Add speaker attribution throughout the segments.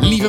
Speaker 1: Lieve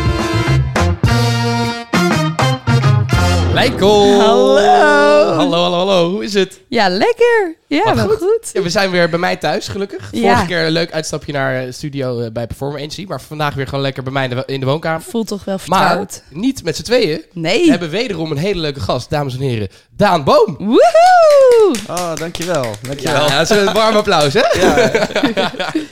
Speaker 1: Leiko!
Speaker 2: Hallo.
Speaker 1: Hallo, hallo, hallo. Hoe is het?
Speaker 2: Ja, lekker. Ja,
Speaker 1: Wat
Speaker 2: wel
Speaker 1: goed.
Speaker 2: goed.
Speaker 1: Ja, we zijn weer bij mij thuis, gelukkig.
Speaker 2: Ja.
Speaker 1: Vorige keer een leuk uitstapje naar eh, studio eh, bij Performer Agency. Maar vandaag weer gewoon lekker bij mij in de, in de woonkamer.
Speaker 2: Voelt toch wel
Speaker 1: Maar
Speaker 2: vertrouwd.
Speaker 1: niet met z'n tweeën.
Speaker 2: nee.
Speaker 1: We hebben wederom een hele leuke gast, dames en heren. Daan Boom.
Speaker 2: Woehoe!
Speaker 3: Oh, dankjewel. Dankjewel.
Speaker 1: Ja, dat is een warm applaus, hè?
Speaker 3: Ja,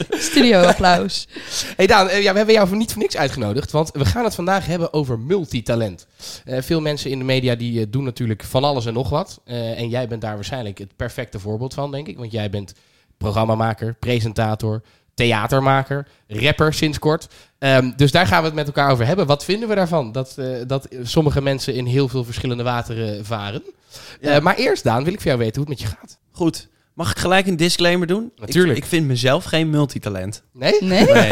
Speaker 2: Studio applaus.
Speaker 1: Hey Daan, eh, ja, we hebben jou voor niet voor niks uitgenodigd, want we gaan het vandaag hebben over multitalent. Eh, veel mensen in de media die eh, doen natuurlijk van alles en nog wat. Eh, en jij bent daar waarschijnlijk het perfecte voorbeeld van, denk ik. Want jij bent programmamaker, presentator, theatermaker, rapper sinds kort. Ehm, dus daar gaan we het met elkaar over hebben. Wat vinden we daarvan? Dat, eh, dat sommige mensen in heel veel verschillende wateren varen.
Speaker 3: Ja.
Speaker 1: Eh, maar eerst, Daan, wil ik van jou weten hoe het met je gaat.
Speaker 3: goed. Mag ik gelijk een disclaimer doen?
Speaker 1: Natuurlijk.
Speaker 3: Ik, ik vind mezelf geen multitalent.
Speaker 1: Nee?
Speaker 2: Nee?
Speaker 3: Nee.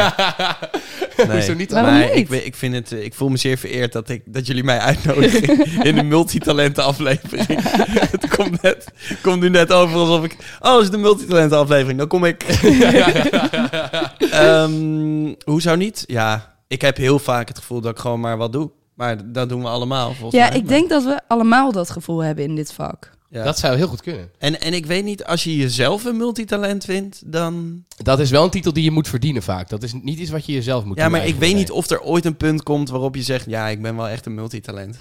Speaker 1: Hoezo niet?
Speaker 2: Waarom
Speaker 3: Nee,
Speaker 2: niet?
Speaker 3: Ik, ben- ik, vind het, eh, ik voel me zeer vereerd dat, ik, dat jullie mij uitnodigen in de multitalenten aflevering. het komt, net, komt nu net over alsof ik... Oh, het is de multitalenten aflevering, dan kom ik. Ehm, hoe zou niet? Ja, ik heb heel vaak het gevoel dat ik gewoon maar wat doe. Maar dat doen we allemaal, volgens
Speaker 2: Ja,
Speaker 3: mij.
Speaker 2: ik denk dat we allemaal dat gevoel hebben in dit vak.
Speaker 3: Ja.
Speaker 1: Dat zou heel goed kunnen.
Speaker 3: En, en ik weet niet, als je jezelf een multitalent vindt, dan...
Speaker 1: Dat is wel een titel die je moet verdienen vaak. Dat is niet iets wat je jezelf moet
Speaker 3: Ja, maar ik weet niet
Speaker 1: of.
Speaker 3: of er ooit een punt komt waarop je zegt... Ja, ik ben wel echt een multitalent.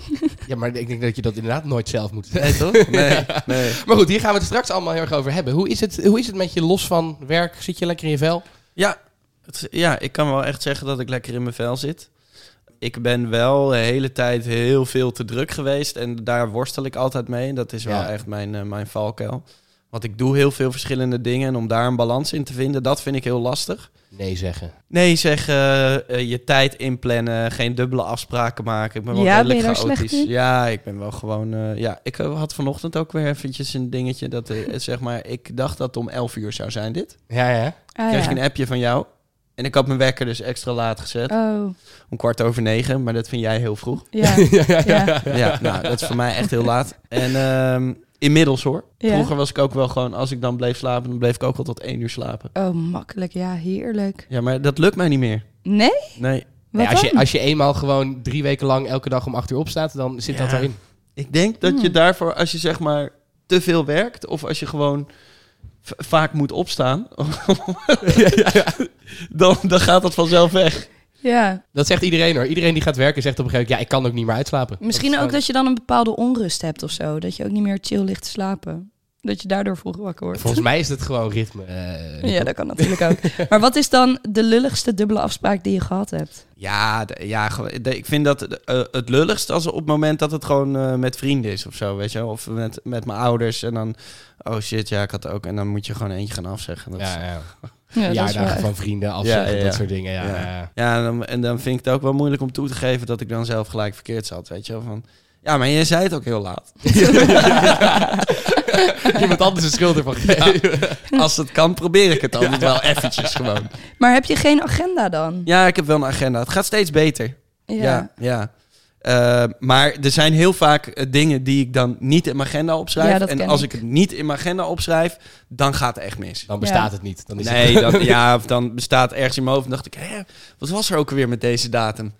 Speaker 1: Ja, maar ik denk dat je dat inderdaad nooit zelf moet.
Speaker 3: Nee, toch? Nee, nee.
Speaker 1: Maar goed, hier gaan we het straks allemaal heel erg over hebben. Hoe is het, hoe is het met je los van werk? Zit je lekker in je vel?
Speaker 3: Ja, het- ja, ik kan wel echt zeggen dat ik lekker in mijn vel zit. Ik ben wel de hele tijd heel veel te druk geweest. En daar worstel ik altijd mee. Dat is wel
Speaker 1: Ja.
Speaker 3: echt mijn, eh, mijn valkuil. Want ik doe heel veel verschillende dingen. En om daar een balans in te vinden, dat vind ik heel lastig.
Speaker 1: Nee zeggen.
Speaker 3: Nee, zeg eh, eh, je tijd inplannen, geen dubbele afspraken maken. Ik ben wel
Speaker 2: Ja, ben je
Speaker 3: redelijk
Speaker 2: daar slecht
Speaker 3: chaotisch.
Speaker 2: in?
Speaker 3: Ja, ik ben wel gewoon. eh, ja, ik eh, had vanochtend ook weer eventjes een dingetje dat eh, zeg maar. Ik dacht dat het om 11 uur zou zijn dit.
Speaker 1: Ja, ja.
Speaker 2: Ah,
Speaker 3: Kreeg
Speaker 2: ja.
Speaker 3: ik een appje van jou. En ik had mijn wekker dus extra laat gezet.
Speaker 2: Oh,
Speaker 3: Om kwart over negen, maar dat vind jij heel vroeg.
Speaker 2: ja. ja.
Speaker 3: Ja, nou, dat is voor mij echt heel laat. En ehm, inmiddels hoor.
Speaker 2: Ja.
Speaker 3: Vroeger was ik ook wel gewoon, als ik dan bleef slapen, dan bleef ik ook al tot één uur slapen.
Speaker 2: Oh, makkelijk. Ja, heerlijk.
Speaker 3: Ja, maar dat lukt mij niet meer.
Speaker 2: Nee?
Speaker 3: Nee.
Speaker 2: Wat
Speaker 1: Nee, als,
Speaker 2: dan?
Speaker 1: je, als je eenmaal gewoon drie weken lang elke dag om acht uur opstaat, dan zit dat
Speaker 3: Ja.
Speaker 1: daarin.
Speaker 3: Ik denk dat je
Speaker 2: Hmm.
Speaker 3: daarvoor, als je zeg maar te veel werkt, of als je gewoon v- vaak moet opstaan, Dan, dan gaat dat vanzelf weg.
Speaker 2: Ja.
Speaker 1: Dat zegt iedereen hoor. Iedereen die gaat werken zegt op een gegeven moment, ja, ik kan ook niet meer uitslapen.
Speaker 2: Misschien ook dat je dan een bepaalde onrust hebt of zo. Dat je ook niet meer chill ligt te slapen. Dat je daardoor vroeg wakker wordt.
Speaker 1: Volgens mij is het gewoon ritme. eh,
Speaker 2: Ja, dat kan natuurlijk ook. Maar wat is dan de lulligste dubbele afspraak die je gehad hebt?
Speaker 3: Ja, d- ja ge- d- ik vind dat eh, het lulligst als op het moment dat het gewoon eh, met vrienden is of zo, weet je wel. Of met, met mijn ouders en dan, oh shit, ja, ik had ook. En dan moet je gewoon eentje gaan afzeggen. Dat is-
Speaker 1: Ja, ja.
Speaker 2: Ja, dat is wel
Speaker 1: Verjaardagen
Speaker 2: echt-
Speaker 1: van vrienden, afzeggen,
Speaker 3: Ja, ja, ja.
Speaker 1: dat soort dingen. Ja, ja. ja.
Speaker 3: Ja, en dan, en dan vind ik het ook wel moeilijk om toe te geven dat ik dan zelf gelijk verkeerd zat, weet je wel. Van, ja, maar je zei het ook heel laat.
Speaker 1: Iemand anders is schuld ervan.
Speaker 3: Als het kan, probeer ik het altijd wel eventjes gewoon.
Speaker 2: Maar heb je geen agenda dan?
Speaker 3: Ja, ik heb wel een agenda. Het gaat steeds beter. Ja, ja. Eh, maar er zijn heel vaak eh, dingen die ik dan niet in mijn agenda opschrijf.
Speaker 2: Ja, dat
Speaker 3: en
Speaker 2: ken
Speaker 3: als
Speaker 2: ik.
Speaker 3: ik het niet in mijn agenda opschrijf, dan gaat het echt mis.
Speaker 1: Dan bestaat het niet. Dan is het-
Speaker 3: Nee, dan, ja, of dan bestaat ergens in mijn hoofd. Dan dacht ik, hè, wat was er ook weer met deze datum?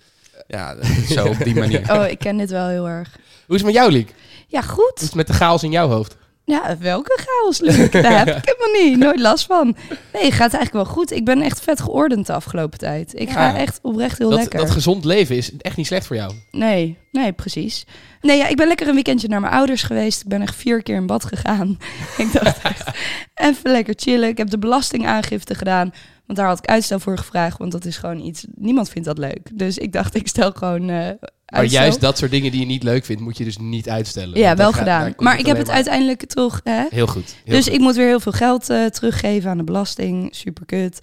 Speaker 3: Ja, zo op die manier.
Speaker 2: Oh, ik ken dit wel heel erg.
Speaker 1: Hoe is het met jou, Liek? Hoe
Speaker 2: Ja,
Speaker 1: is
Speaker 2: goed.
Speaker 1: het met de chaos in jouw hoofd?
Speaker 2: Ja, welke chaos, Luc. Daar heb ik helemaal niet. Nooit last van. Nee, gaat eigenlijk wel goed. Ik ben echt vet geordend de afgelopen tijd. Ik ga
Speaker 1: Ja.
Speaker 2: echt oprecht heel
Speaker 1: Dat,
Speaker 2: lekker.
Speaker 1: dat gezond leven is echt niet slecht voor jou.
Speaker 2: Nee, nee, precies. Nee, ja, ik ben lekker een weekendje naar mijn ouders geweest. Ik ben echt vier keer in bad gegaan. ik dacht echt, even lekker chillen. Ik heb de belastingaangifte gedaan. Want daar had ik uitstel voor gevraagd. Want dat is gewoon iets... Niemand vindt dat leuk. Dus ik dacht, ik stel gewoon eh
Speaker 1: Maar
Speaker 2: uitstel.
Speaker 1: juist dat soort dingen die je niet leuk vindt, moet je dus niet uitstellen.
Speaker 2: Ja,
Speaker 1: Want
Speaker 2: wel
Speaker 1: dat gaat- daar
Speaker 2: gedaan.
Speaker 1: komt
Speaker 2: Maar ik heb het
Speaker 1: alleen
Speaker 2: uiteindelijk toch... Hè?
Speaker 1: maar- Heel goed. heel
Speaker 2: dus
Speaker 1: goed.
Speaker 2: ik moet weer heel veel geld eh, teruggeven aan de belasting. Super kut.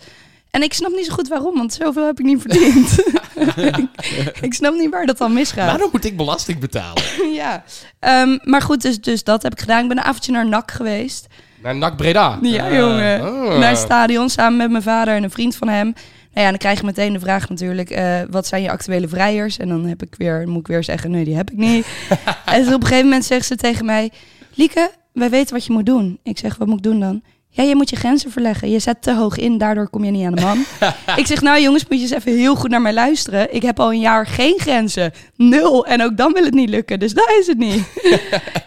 Speaker 2: En ik snap niet zo goed waarom, want zoveel heb ik niet verdiend. ik snap niet waar dat dan misgaat.
Speaker 1: Waarom moet ik belasting betalen?
Speaker 2: ja. Ehm, maar goed, dus, dus dat heb ik gedaan. Ik ben een avondje naar NAC geweest.
Speaker 1: Naar NAC Breda.
Speaker 2: Ja,
Speaker 1: Ah,
Speaker 2: jongen.
Speaker 1: ah.
Speaker 2: Naar het stadion samen met mijn vader en een vriend van hem. Nou ja, dan krijg je meteen de vraag natuurlijk, eh, wat zijn je actuele vrijers? En dan heb ik weer, moet ik weer zeggen, nee, die heb ik niet. en dus op een gegeven moment zegt ze tegen mij, Lieke, wij weten wat je moet doen. Ik zeg, wat moet ik doen dan? Ja, je moet je grenzen verleggen. Je zet te hoog in, daardoor kom je niet aan de man. ik zeg, nou jongens, moet je eens even heel goed naar mij luisteren. Ik heb al een jaar geen grenzen. Nul. En ook dan wil het niet lukken, dus dat is het niet.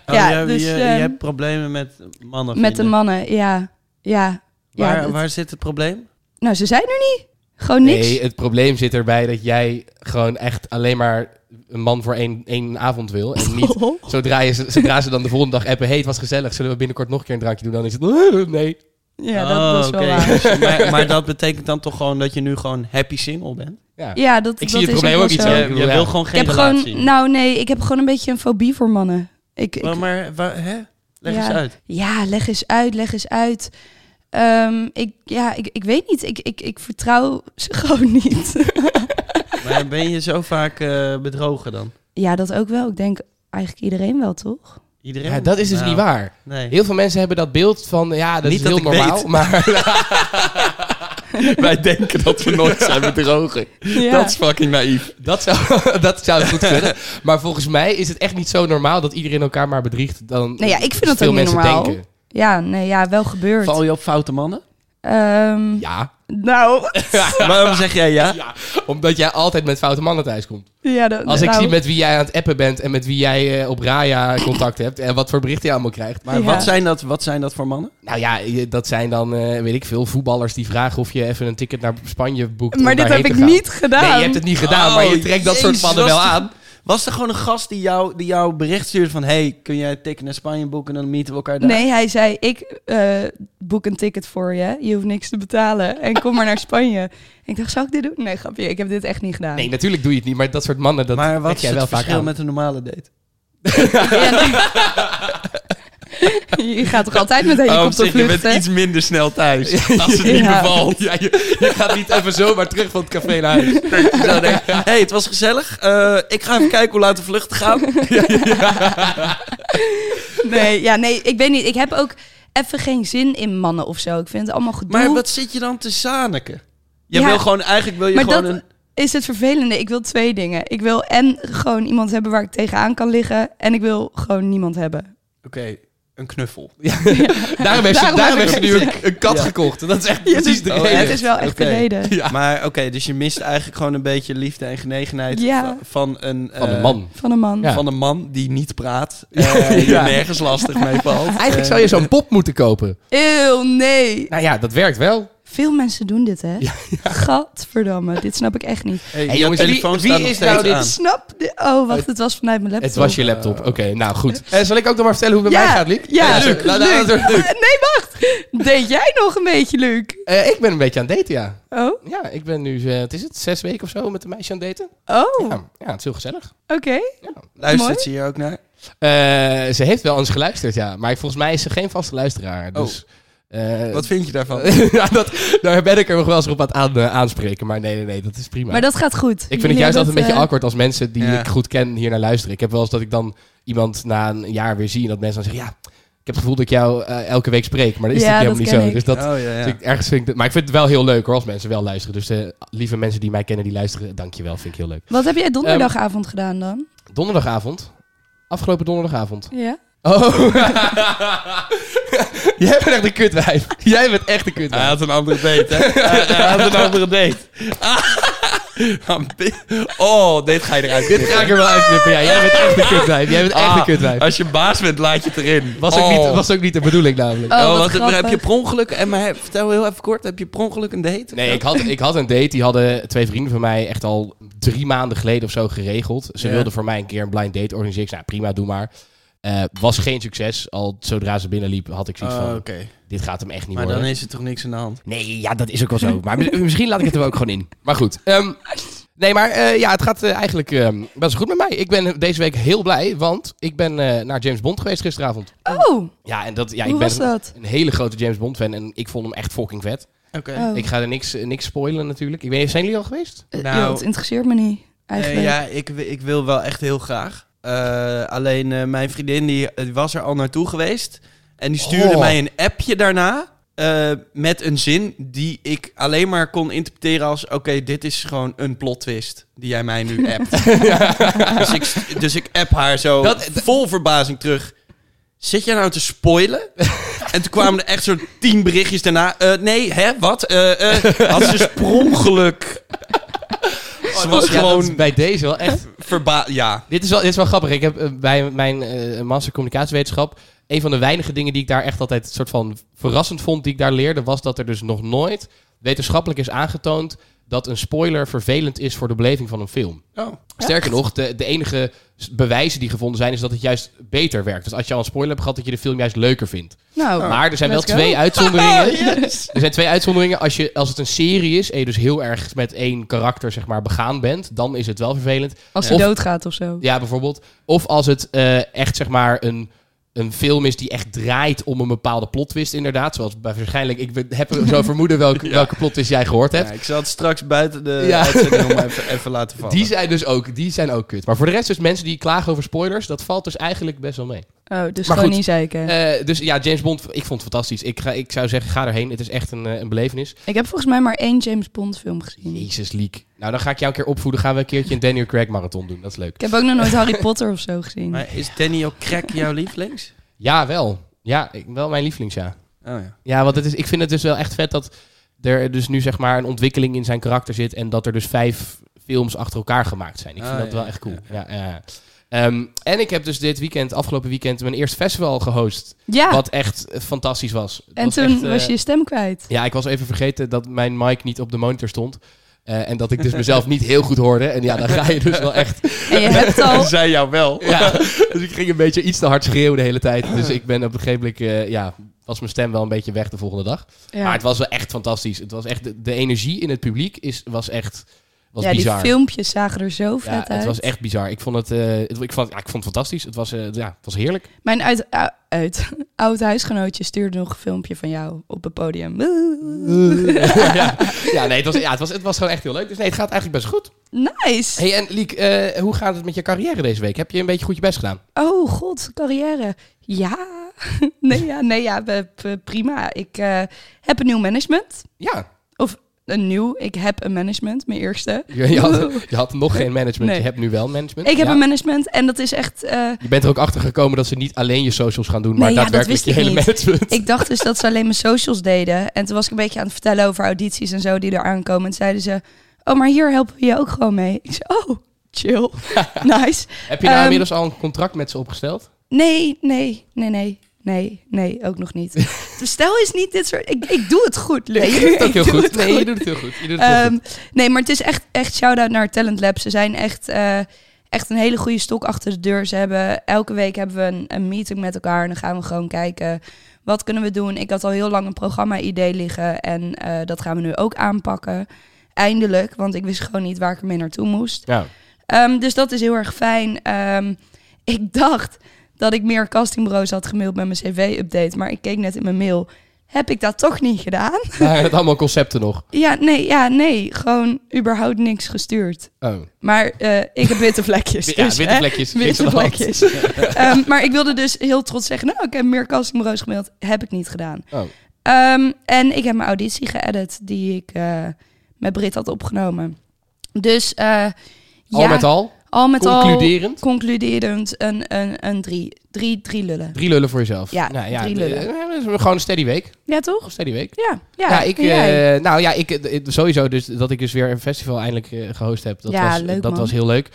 Speaker 2: Ja,
Speaker 3: je,
Speaker 2: dus,
Speaker 3: je, je
Speaker 2: ehm,
Speaker 3: Oh, hebt problemen met mannen.
Speaker 2: Met de
Speaker 3: vinden.
Speaker 2: mannen, ja. Ja. ja,
Speaker 3: Waar,
Speaker 2: dat-
Speaker 3: waar zit het probleem?
Speaker 2: Nou, ze zijn er niet. Gewoon niks.
Speaker 1: Nee, het probleem zit erbij dat jij gewoon echt alleen maar een man voor één, één avond wil. En
Speaker 2: Oh.
Speaker 1: niet zodra, je, ze- zodra ze dan de volgende dag appen, hey, het was gezellig, zullen we binnenkort nog een keer een drankje doen? Dan is het, "Eh, nee.
Speaker 2: Ja, dat,
Speaker 3: Oh,
Speaker 2: dat is
Speaker 3: oké.
Speaker 2: wel waar.
Speaker 3: Dus- maar, maar dat betekent dan toch gewoon dat je nu gewoon happy single bent?
Speaker 1: Ja.
Speaker 2: Ja, dat,
Speaker 1: Ik
Speaker 2: dat
Speaker 1: zie het
Speaker 2: is
Speaker 1: probleem
Speaker 2: wel
Speaker 1: ook niet
Speaker 2: zo.
Speaker 1: zo. ik
Speaker 3: je je
Speaker 1: bedoel, ja.
Speaker 3: wil gewoon
Speaker 2: Ik
Speaker 3: geen
Speaker 2: heb
Speaker 3: relatie.
Speaker 2: gewoon, nou nee, ik heb gewoon een beetje een fobie voor mannen. Ik, ik-
Speaker 3: Maar, maar waar- hè? leg
Speaker 2: Ja.
Speaker 3: eens uit.
Speaker 2: ja, leg eens uit, leg eens uit. Ehm, ik, ja, ik, ik weet niet. Ik, ik, ik vertrouw ze gewoon niet.
Speaker 3: Maar ben je zo vaak eh, bedrogen dan?
Speaker 2: ja, dat ook wel. Ik denk eigenlijk iedereen wel, toch?
Speaker 3: Iedereen?
Speaker 1: Ja, dat is dus
Speaker 3: Nou,
Speaker 1: niet waar.
Speaker 3: Nee.
Speaker 1: Heel veel mensen hebben dat beeld van, ja, dat
Speaker 3: Niet
Speaker 1: is heel
Speaker 3: dat ik
Speaker 1: normaal.
Speaker 3: weet.
Speaker 1: Maar
Speaker 4: Wij denken dat we nooit zijn bedrogen.
Speaker 2: Ja.
Speaker 4: Dat is fucking naïef.
Speaker 1: dat zou, dat zou goed kunnen. Maar volgens mij is het echt niet zo normaal dat iedereen elkaar maar bedriegt dan
Speaker 2: Nee, Nou ja, ik vind dat
Speaker 1: veel
Speaker 2: ook niet
Speaker 1: mensen
Speaker 2: normaal.
Speaker 1: denken.
Speaker 2: Ja, nee, ja, wel gebeurd.
Speaker 3: Val je op foute mannen?
Speaker 2: Ehm,
Speaker 1: Ja,
Speaker 2: Nou,
Speaker 3: Waarom zeg jij ja?
Speaker 1: omdat jij altijd met foute mannen thuiskomt.
Speaker 2: ja, dat,
Speaker 1: Als ik
Speaker 2: nou,
Speaker 1: zie met wie jij aan het appen bent en met wie jij eh, op Raya contact hebt en wat voor berichten je allemaal krijgt.
Speaker 3: Maar
Speaker 2: Ja.
Speaker 3: wat, zijn dat, wat zijn dat voor mannen?
Speaker 1: Nou ja, je- dat zijn dan, eh, weet ik veel, voetballers die vragen of je even een ticket naar Spanje boekt.
Speaker 2: Maar
Speaker 1: om
Speaker 2: dit
Speaker 1: daarheen
Speaker 2: heb ik
Speaker 1: te gaan.
Speaker 2: niet gedaan.
Speaker 1: Nee, je hebt het niet gedaan, maar
Speaker 3: oh,
Speaker 1: je trekt dat soort mannen wel aan.
Speaker 3: Was er gewoon een gast die jou, die jou bericht stuurde van... hey, kun jij tikken naar Spanje boeken en dan meeten we elkaar daar?
Speaker 2: Nee, hij zei, ik eh, boek een ticket voor je. Je hoeft niks te betalen. En kom maar naar Spanje. Ik dacht, zou ik dit doen? Nee, grapje. Ik heb dit echt niet gedaan.
Speaker 1: Nee, natuurlijk doe je het niet, maar dat soort mannen, dat
Speaker 3: maar wat
Speaker 1: trek
Speaker 3: is
Speaker 1: jij
Speaker 3: het
Speaker 1: wel vaak
Speaker 3: verschil
Speaker 1: aan.
Speaker 3: met een normale date?
Speaker 2: Ja, nee. je gaat toch altijd met
Speaker 3: Oh,
Speaker 2: helikopter vluchten?
Speaker 4: minder snel thuis. Als het
Speaker 2: Ja.
Speaker 1: Ja, je, je gaat niet even zomaar terug van het café naar huis.
Speaker 3: Zo denk ik, hey, het was gezellig. Eh, ik ga even kijken hoe laat de vlucht gaat.
Speaker 2: Nee, ja, nee, ik weet niet. Ik heb ook even geen zin in mannen of zo. Ik vind het allemaal gedoe.
Speaker 3: Maar wat zit je dan te zaniken? Je
Speaker 2: Ja.
Speaker 3: wil gewoon, eigenlijk wil je
Speaker 2: Maar
Speaker 3: gewoon
Speaker 2: dat-
Speaker 3: een...
Speaker 2: is het vervelende. Ik wil twee dingen. Ik wil en gewoon iemand hebben waar ik tegenaan kan liggen. En ik wil gewoon niemand hebben.
Speaker 3: Oké, een knuffel.
Speaker 1: Daarom heeft ze,
Speaker 2: Daarom
Speaker 1: daarom
Speaker 2: heb
Speaker 1: heeft ze
Speaker 2: ik
Speaker 1: nu
Speaker 2: het.
Speaker 1: een, een kat gekocht. Dat dus is echt precies de
Speaker 3: Oh,
Speaker 1: reden.
Speaker 2: Het is wel echt de
Speaker 3: Oké.
Speaker 2: reden.
Speaker 3: Maar oké, dus je mist eigenlijk gewoon een beetje liefde en genegenheid
Speaker 2: Ja.
Speaker 3: va- van een...
Speaker 1: Van een
Speaker 3: eh,
Speaker 1: man.
Speaker 2: Van een man.
Speaker 1: Ja.
Speaker 3: Van een man die niet praat, eh, die
Speaker 1: Ja.
Speaker 3: nergens lastig mee valt. Eh,
Speaker 1: Eigenlijk zou je zo'n pop moeten kopen.
Speaker 2: Eeuw, nee.
Speaker 1: Eh, Nou ja, dat werkt wel.
Speaker 2: Veel mensen doen dit, hè? Gadverdamme, dit snap ik echt niet.
Speaker 3: Hey,
Speaker 1: Hey,
Speaker 3: je
Speaker 1: jongens, wie-
Speaker 3: telefoon
Speaker 1: wie
Speaker 3: staat nog
Speaker 1: is nou
Speaker 3: steeds
Speaker 1: dit
Speaker 3: aan.
Speaker 2: Ik snap de... Oh, wacht, het was vanuit mijn laptop.
Speaker 1: Het was je laptop. Oké, nou goed. Eh, zal ik ook nog maar vertellen hoe het bij
Speaker 2: Ja,
Speaker 1: mij gaat, Liek?
Speaker 2: ja,
Speaker 1: Eh,
Speaker 2: Luc,
Speaker 1: laat- laat-
Speaker 2: Luc.
Speaker 1: laat- Luc.
Speaker 2: Nee, wacht. Deed jij nog een beetje, Luc?
Speaker 1: Eh, ik ben een beetje aan het daten, ja.
Speaker 2: Oh,
Speaker 1: Ja, ik ben nu, eh, wat is het, zes weken of zo met een meisje aan het daten.
Speaker 2: oh,
Speaker 1: Ja, ja het is heel gezellig.
Speaker 2: oké.
Speaker 3: Luistert
Speaker 2: Mooi.
Speaker 3: ze hier ook naar?
Speaker 1: Eh, ze heeft wel eens geluisterd, ja. Maar ik- volgens mij is ze geen vaste luisteraar. Dus, eh,
Speaker 3: Oh. Wat vind je daarvan?
Speaker 1: ja, dat, daar ben ik er nog wel eens op aan het aan, eh, aanspreken. Maar nee, nee, nee, dat is prima.
Speaker 2: Maar dat gaat goed.
Speaker 1: ik vind het juist altijd een beetje awkward als mensen die
Speaker 3: Ja.
Speaker 1: ik goed ken hier naar luisteren. Ik heb wel eens dat ik dan iemand na een jaar weer zie en dat mensen dan zeggen... Ja, ik heb het gevoel dat ik jou eh, elke week spreek. Maar dat is
Speaker 2: Ja,
Speaker 1: natuurlijk
Speaker 2: dat
Speaker 1: helemaal niet zo.
Speaker 2: ken
Speaker 1: Dus dat,
Speaker 3: oh, ja,
Speaker 1: dus
Speaker 3: ja.
Speaker 1: ik, ergens vind ik dat- maar ik vind het wel heel leuk hoor, als mensen wel luisteren. Dus eh, lieve mensen die mij kennen, die luisteren, dankjewel. Vind ik heel leuk.
Speaker 2: eh, Wat heb jij donderdagavond
Speaker 1: Ehm,
Speaker 2: gedaan dan?
Speaker 1: Donderdagavond. Afgelopen donderdagavond.
Speaker 2: Ja?
Speaker 1: Oh. Jij bent echt een kutwijf. Jij bent echt een
Speaker 3: Hij
Speaker 1: kutwijf.
Speaker 3: had een andere date, hè? Hij- Hij had een andere date. Oh, dit ga je eruit.
Speaker 1: Dit ga ik er wel uitknippen. Ja, jij bent echt een kutwijf. Jij bent echt een
Speaker 3: Ah,
Speaker 1: kutwijf.
Speaker 3: Als je baas bent, laat je het erin.
Speaker 1: Was ook, niet, was ook niet de bedoeling namelijk.
Speaker 2: Oh,
Speaker 3: Oh,
Speaker 2: wat
Speaker 3: wat- maar heb
Speaker 2: grappig.
Speaker 3: je per ongeluk... En maar vertel heel even kort, heb je per ongeluk een date?
Speaker 1: Nee, ik had, ik had een date. Die hadden twee vrienden van mij echt al drie maanden geleden of zo geregeld. Ze
Speaker 3: Ja.
Speaker 1: wilden voor mij een keer een blind date organiseren. Ik zei, nou, prima, doe maar. Eh, was geen succes. Al zodra ze binnenliep had ik zoiets
Speaker 3: Oh,
Speaker 1: van,
Speaker 3: Oké,
Speaker 1: dit gaat hem echt niet
Speaker 3: maar
Speaker 1: worden.
Speaker 3: dan is er toch niks aan de hand?
Speaker 1: Nee, ja, dat is ook wel zo. Maar mis- misschien laat ik het er ook gewoon in. Maar goed. ehm, nee, maar eh, ja, het gaat eh, eigenlijk ehm, best goed met mij. Ik ben deze week heel blij, want ik ben eh, naar James Bond geweest gisteravond.
Speaker 2: Oh,
Speaker 1: eh, Ja, en dat, ja,
Speaker 2: hoe
Speaker 1: ik ben
Speaker 2: was dat?
Speaker 1: een hele grote James Bond fan en ik vond hem echt fucking vet.
Speaker 3: Eh,
Speaker 2: Oh.
Speaker 1: eh, Ik ga er niks, niks spoilen natuurlijk. Ik weet niet, zijn jullie al geweest?
Speaker 2: Eh,
Speaker 3: Nou-
Speaker 2: joh, het interesseert me niet,
Speaker 3: Eh,
Speaker 2: eigenlijk.
Speaker 3: ja, ik, wi- ik wil wel echt heel graag. Eh, alleen eh, mijn vriendin die, eh, die was er al naartoe geweest. En die stuurde
Speaker 1: Oh.
Speaker 3: mij een appje daarna. eh, met een zin die ik alleen maar kon interpreteren als... Oké, dit is gewoon een plot twist die jij mij nu appt. dus, ik, st- dus ik app haar zo
Speaker 1: Dat-
Speaker 3: vol verbazing terug. Zit jij nou te spoilen? en toen kwamen er echt zo'n tien berichtjes daarna. Eh, nee, hè, wat? Eh, eh, had ze sprongeluk. Ze was
Speaker 1: Ja, Oh, dat
Speaker 3: gewoon
Speaker 1: is bij deze wel echt
Speaker 3: verba... Ja.
Speaker 1: Dit is wel, dit is wel grappig. Ik heb eh, bij mijn eh master communicatiewetenschap... een van de weinige dingen die ik daar echt altijd... soort van verrassend vond die ik daar leerde... was dat er dus nog nooit wetenschappelijk is aangetoond... dat een spoiler vervelend is voor de beleving van een film.
Speaker 3: Oh.
Speaker 1: Sterker nog, de, de enige s- bewijzen die gevonden zijn... is dat het juist beter werkt. Dus als je al een spoiler hebt gehad... dat je de film juist leuker vindt.
Speaker 2: Nou,
Speaker 1: maar er zijn wel
Speaker 2: let's go.
Speaker 1: twee uitzonderingen. Er zijn twee uitzonderingen. Als, je, als het een serie is... en je dus heel erg met één karakter zeg maar, begaan bent... dan is het wel vervelend.
Speaker 2: als hij
Speaker 1: Of-
Speaker 2: doodgaat of zo.
Speaker 1: Ja, bijvoorbeeld. Of als het eh, echt zeg maar een, een film is die echt draait om een bepaalde plot twist, inderdaad. Zoals bij waarschijnlijk, ik ben- heb zo vermoeden welke, welke plot twist jij gehoord hebt.
Speaker 3: Ja, ik zal het straks buiten de
Speaker 1: Ja.
Speaker 3: uitzending nog maar even, even laten vallen.
Speaker 1: Die zijn dus ook, die zijn ook kut. Maar voor de rest, dus mensen die klagen over spoilers, dat valt dus eigenlijk best wel mee.
Speaker 2: Oh, dus
Speaker 1: Maar
Speaker 2: gewoon
Speaker 1: goed.
Speaker 2: niet zeiken.
Speaker 1: Eh, dus ja, James Bond, ik vond het fantastisch. Ik, ga, ik zou zeggen, ga erheen. Het is echt een, eh, een belevenis.
Speaker 2: ik heb volgens mij maar één James Bond film gezien.
Speaker 1: Jezus, leak. Nou, dan ga ik jou een keer opvoeden. Gaan we een keertje een Daniel Craig marathon doen. Dat is leuk.
Speaker 2: Ik heb ook nog nooit Harry Potter of zo gezien.
Speaker 3: Maar is Daniel Craig jouw lievelings?
Speaker 1: Ja, wel. Ja, ik, wel mijn lievelings, ja.
Speaker 3: Oh ja.
Speaker 1: Ja, want het is, ik vind het dus wel echt vet dat er dus nu zeg maar een ontwikkeling in zijn karakter zit en dat er dus vijf films achter elkaar gemaakt zijn. Ik vind
Speaker 3: Ah,
Speaker 1: dat
Speaker 3: ja,
Speaker 1: wel echt cool. Ja. ja. Ehm, en ik heb dus dit weekend, afgelopen weekend, mijn eerste festival gehost.
Speaker 2: ja,
Speaker 1: Wat echt eh, fantastisch was. Het
Speaker 2: Ah. en
Speaker 1: was
Speaker 2: toen
Speaker 1: echt, eh,
Speaker 2: was je je stem kwijt.
Speaker 1: Ja, ik was even vergeten dat mijn mic niet op de monitor stond. eh, en dat ik dus mezelf niet heel goed hoorde. En ja, dan ga je dus wel echt...
Speaker 2: En je hebt al...
Speaker 3: Zij jou wel.
Speaker 1: Ja, dus ik ging een beetje iets te hard schreeuwen de hele tijd. Dus ik ben op een gegeven moment... eh, ja, was mijn stem wel een beetje weg de volgende dag. Maar
Speaker 2: Ja,
Speaker 1: het was wel echt fantastisch. Het was echt, de, de energie in het publiek is, was echt was
Speaker 2: ja die
Speaker 1: bizar.
Speaker 2: filmpjes zagen er zo
Speaker 1: ja,
Speaker 2: vet uit.
Speaker 1: het was echt bizar. Ik vond het, eh, het- ik vond, ja, ik vond het fantastisch. Het was, eh, ja, het was heerlijk.
Speaker 2: Mijn uit, ou- uit, oud huisgenootje stuurde nog een filmpje van jou op het podium.
Speaker 1: ja, ja, nee, het was, ja, het was, het was gewoon echt heel leuk. Dus nee, het gaat eigenlijk best goed.
Speaker 2: Nice!
Speaker 1: Hey, en Liek, eh, hoe gaat het met je carrière deze week? Heb je een beetje goed je best gedaan?
Speaker 2: Oh god, carrière. Ja, nee ja, nee, ja we- we- prima. Ik eh, heb een nieuw management.
Speaker 1: Ja.
Speaker 2: Een nieuw, ik heb een management, mijn eerste.
Speaker 1: Je, je had, je had nog geen management.
Speaker 2: Nee.
Speaker 1: Je hebt nu wel management.
Speaker 2: Ik heb
Speaker 1: Ja.
Speaker 2: een management en dat is echt... eh,
Speaker 1: Je bent er ook achter gekomen dat ze niet alleen je socials gaan doen, maar
Speaker 2: Nee, ja, dat
Speaker 1: daadwerkelijk
Speaker 2: wist ik
Speaker 1: je hele
Speaker 2: niet.
Speaker 1: management.
Speaker 2: Ik dacht dus dat ze alleen mijn socials deden. En toen was ik een beetje aan het vertellen over audities en zo die er aankomen. En toen zeiden ze, oh, maar hier helpen we je ook gewoon mee. Ik zei, oh, chill. nice.
Speaker 1: Heb je nou
Speaker 2: Ehm,
Speaker 1: inmiddels al een contract met ze opgesteld?
Speaker 2: Nee, nee, nee, nee. Nee, nee, ook nog niet. Dus Stel is niet dit soort... Ik, ik doe het goed, Luc.
Speaker 1: Nee, je doet het ook
Speaker 2: Ik
Speaker 1: heel
Speaker 2: doe
Speaker 1: goed.
Speaker 2: het
Speaker 1: Nee,
Speaker 2: goed.
Speaker 1: je doet het heel goed. Je doet het heel
Speaker 2: Ehm,
Speaker 1: goed.
Speaker 2: nee, maar het is echt, echt shout-out naar Talent Lab. Ze zijn echt, eh, echt een hele goede stok achter de deur. Ze hebben, elke week hebben we een, een meeting met elkaar. En dan gaan we gewoon kijken, wat kunnen we doen? Ik had al heel lang een programma-idee liggen. En eh, dat gaan we nu ook aanpakken. Eindelijk, want ik wist gewoon niet waar ik ermee naartoe moest.
Speaker 1: Ja.
Speaker 2: Ehm, dus dat is heel erg fijn. Ehm, ik dacht dat ik meer castingbureaus had gemaild met mijn cv-update. Maar ik keek net in mijn mail. Heb ik dat toch niet gedaan?
Speaker 1: Waren het allemaal concepten nog?
Speaker 2: Ja, nee, ja, nee. Gewoon überhaupt niks gestuurd.
Speaker 1: Oh.
Speaker 2: Maar eh, ik heb witte vlekjes.
Speaker 1: Ja,
Speaker 2: dus,
Speaker 1: witte
Speaker 2: hè.
Speaker 1: vlekjes.
Speaker 2: Witte
Speaker 1: Zwitserland.
Speaker 2: vlekjes. Ehm, maar ik wilde dus heel trots zeggen... nou, ik heb meer castingbureaus gemaild. Heb ik niet gedaan.
Speaker 1: Oh.
Speaker 2: Ehm, en ik heb mijn auditie geëdit... die ik eh, met Brit had opgenomen. Dus eh,
Speaker 1: Al
Speaker 2: ja,
Speaker 1: met al,
Speaker 2: al met al
Speaker 1: concluderend,
Speaker 2: concluderend een, een, een drie. drie. Drie lullen.
Speaker 1: drie lullen voor jezelf.
Speaker 2: Ja,
Speaker 1: nou, ja
Speaker 2: drie
Speaker 1: eh,
Speaker 2: lullen.
Speaker 1: eh, dat is gewoon een steady week.
Speaker 2: Ja, toch?
Speaker 1: Een steady week.
Speaker 2: Ja. Ja,
Speaker 1: Ja, ik,
Speaker 2: en jij?
Speaker 1: eh, nou ja, ik, eh, d- sowieso dus dat ik dus weer een festival eindelijk eh, gehost heb. Dat,
Speaker 2: Ja,
Speaker 1: was,
Speaker 2: leuk,
Speaker 1: dat
Speaker 2: man.
Speaker 1: was heel leuk.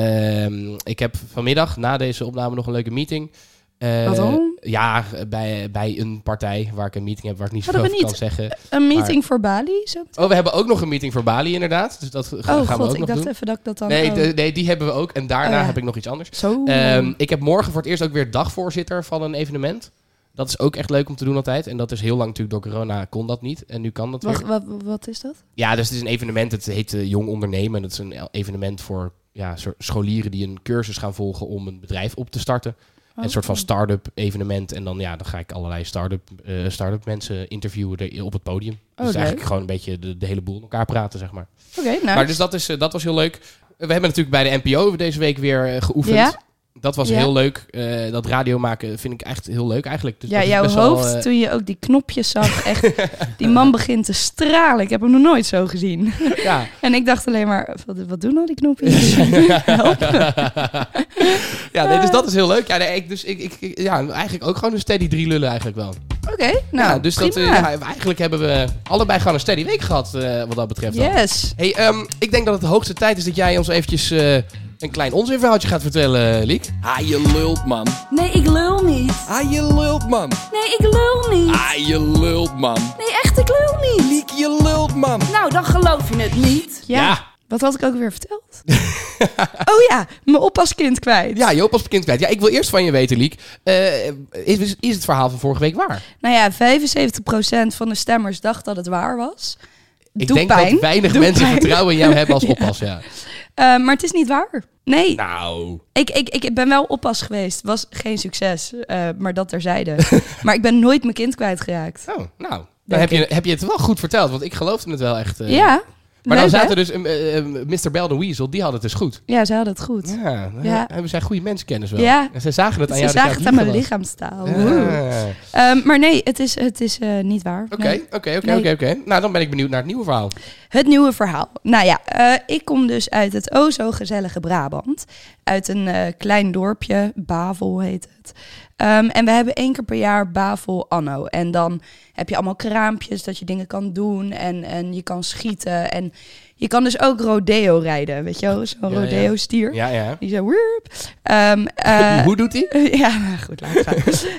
Speaker 1: Ehm, ik heb vanmiddag na deze opname nog een leuke meeting. Eh,
Speaker 2: Wat dan?
Speaker 1: Ja, bij, bij een partij waar ik een meeting heb waar ik niet
Speaker 2: Oh, dat
Speaker 1: zoveel over
Speaker 2: ben
Speaker 1: kan zeggen.
Speaker 2: een meeting voor Bali? Zo?
Speaker 1: Oh, we hebben ook nog een meeting voor Bali inderdaad. Dus dat ga- gaan
Speaker 2: Oh
Speaker 1: we ook
Speaker 2: god, ik
Speaker 1: nog
Speaker 2: dacht
Speaker 1: doen.
Speaker 2: even dat ik dat dan...
Speaker 1: nee,
Speaker 2: oh.
Speaker 1: de- nee, die hebben we ook. En daarna
Speaker 2: Oh, ja.
Speaker 1: heb ik nog iets anders.
Speaker 2: Zo.
Speaker 1: Ehm, ik heb morgen voor het eerst ook weer dagvoorzitter van een evenement. Dat is ook echt leuk om te doen altijd. En dat is heel lang natuurlijk door corona kon dat niet. En nu kan dat
Speaker 2: Wacht,
Speaker 1: weer.
Speaker 2: wat, wat is dat?
Speaker 1: Ja, dus het is een evenement. Het heet eh, Jong Ondernemen. Dat is een evenement voor ja, soort scholieren die een cursus gaan volgen om een bedrijf op te starten. Een soort
Speaker 2: Oh.
Speaker 1: van start-up evenement. En dan, ja, dan ga ik allerlei start-up, eh, start-up mensen interviewen er- op het podium. dus eigenlijk
Speaker 2: Oh, leuk.
Speaker 1: gewoon een beetje de, de hele boel in elkaar praten, zeg maar.
Speaker 2: Oké, nou.
Speaker 1: Maar dus dat, is, eh, dat was heel leuk. We hebben natuurlijk bij de NPO deze week weer eh, geoefend.
Speaker 2: Ja?
Speaker 1: Dat was
Speaker 2: Ja.
Speaker 1: heel leuk. Eh, dat radio maken vind ik echt heel leuk eigenlijk. Dus
Speaker 2: ja,
Speaker 1: dat is
Speaker 2: jouw
Speaker 1: best wel,
Speaker 2: hoofd,
Speaker 1: eh,
Speaker 2: toen je ook die knopjes zag, echt, die man begint te stralen. Ik heb hem nog nooit zo gezien.
Speaker 1: eh, ja.
Speaker 2: En ik dacht alleen maar, wat, wat doen al die knopjes? Help.
Speaker 1: ja, nee, dus dat is heel leuk. Ja, nee, ik, dus ik, ik, ik- ja, eigenlijk ook gewoon een steady drie lullen eigenlijk wel.
Speaker 2: Oké, nou,
Speaker 1: ja, dus dat, eh,
Speaker 2: prima.
Speaker 1: ja, eigenlijk hebben we allebei gewoon een steady week gehad eh, wat dat betreft. dan.
Speaker 2: Yes.
Speaker 1: Hey, ehm, ik denk dat het de hoogste tijd is dat jij ons eventjes eh, een klein onzinverhaaltje gaat vertellen, eh, Liek.
Speaker 4: Ah, je lult, man.
Speaker 5: Nee, ik lul niet.
Speaker 4: Ah, je lult, man.
Speaker 5: Nee, ik lul niet.
Speaker 4: Ah, je lult, man.
Speaker 5: Nee, echt, ik lul niet.
Speaker 4: Liek, je lult, man.
Speaker 5: Nou, dan geloof je het niet.
Speaker 2: Ja. Wat had ik ook weer verteld? oh ja, mijn oppaskind kwijt.
Speaker 1: Ja, Joop als bekend kwijt. Ja, ik wil eerst van je weten, Liek. Eh, is, is het verhaal van vorige week waar?
Speaker 2: Nou ja, 75% van de stemmers dacht dat het waar was.
Speaker 1: Ik
Speaker 2: Doe
Speaker 1: denk
Speaker 2: pijn.
Speaker 1: dat weinig
Speaker 2: Doe
Speaker 1: mensen
Speaker 2: pijn.
Speaker 1: vertrouwen in jou hebben als oppas, ja.
Speaker 2: Eh, maar het is niet waar. Nee,
Speaker 1: Nou.
Speaker 2: ik, ik, ik ben wel oppas geweest. Was geen succes, eh, maar dat terzijde. maar ik ben nooit mijn kind kwijtgeraakt.
Speaker 1: Oh, nou. Dan
Speaker 2: Denk
Speaker 1: heb je, heb je het wel goed verteld, want ik geloofde het wel echt. eh.
Speaker 2: ja.
Speaker 1: Maar
Speaker 2: leuk,
Speaker 1: dan
Speaker 2: hè?
Speaker 1: zaten dus, eh, eh, Mr. Bell de Weasel, die had het dus goed.
Speaker 2: Ja, ze hadden het goed.
Speaker 1: Ja, dan
Speaker 2: Ja.
Speaker 1: hebben zij goede mensenkennis wel.
Speaker 2: Ja.
Speaker 1: En ze zagen het aan
Speaker 2: Ze
Speaker 1: jou.
Speaker 2: zagen
Speaker 1: dat
Speaker 2: het
Speaker 1: jij
Speaker 2: aan mijn
Speaker 1: was.
Speaker 2: lichaamstaal. Woe.
Speaker 1: Ja.
Speaker 2: Ehm, maar nee, het is, het is eh, niet waar. Nee.
Speaker 1: Oké, oké, oké,
Speaker 2: Nee.
Speaker 1: oké, oké. Nou, dan ben ik benieuwd naar het nieuwe verhaal.
Speaker 2: Het nieuwe verhaal. Nou ja, eh, ik kom dus uit het o zo gezellige Brabant. Uit een eh, klein dorpje, Bavel heet het. Ehm, en we hebben één keer per jaar Bavel Anno. En dan heb je allemaal kraampjes dat je dingen kan doen. En, en je kan schieten. En je kan dus ook rodeo rijden. Weet je wel, zo'n
Speaker 1: Ja, ja.
Speaker 2: rodeo-stier.
Speaker 1: Ja, ja.
Speaker 2: Die zo... wierp. Ehm, eh,
Speaker 1: Hoe doet hij?
Speaker 2: ja, nou goed, laat het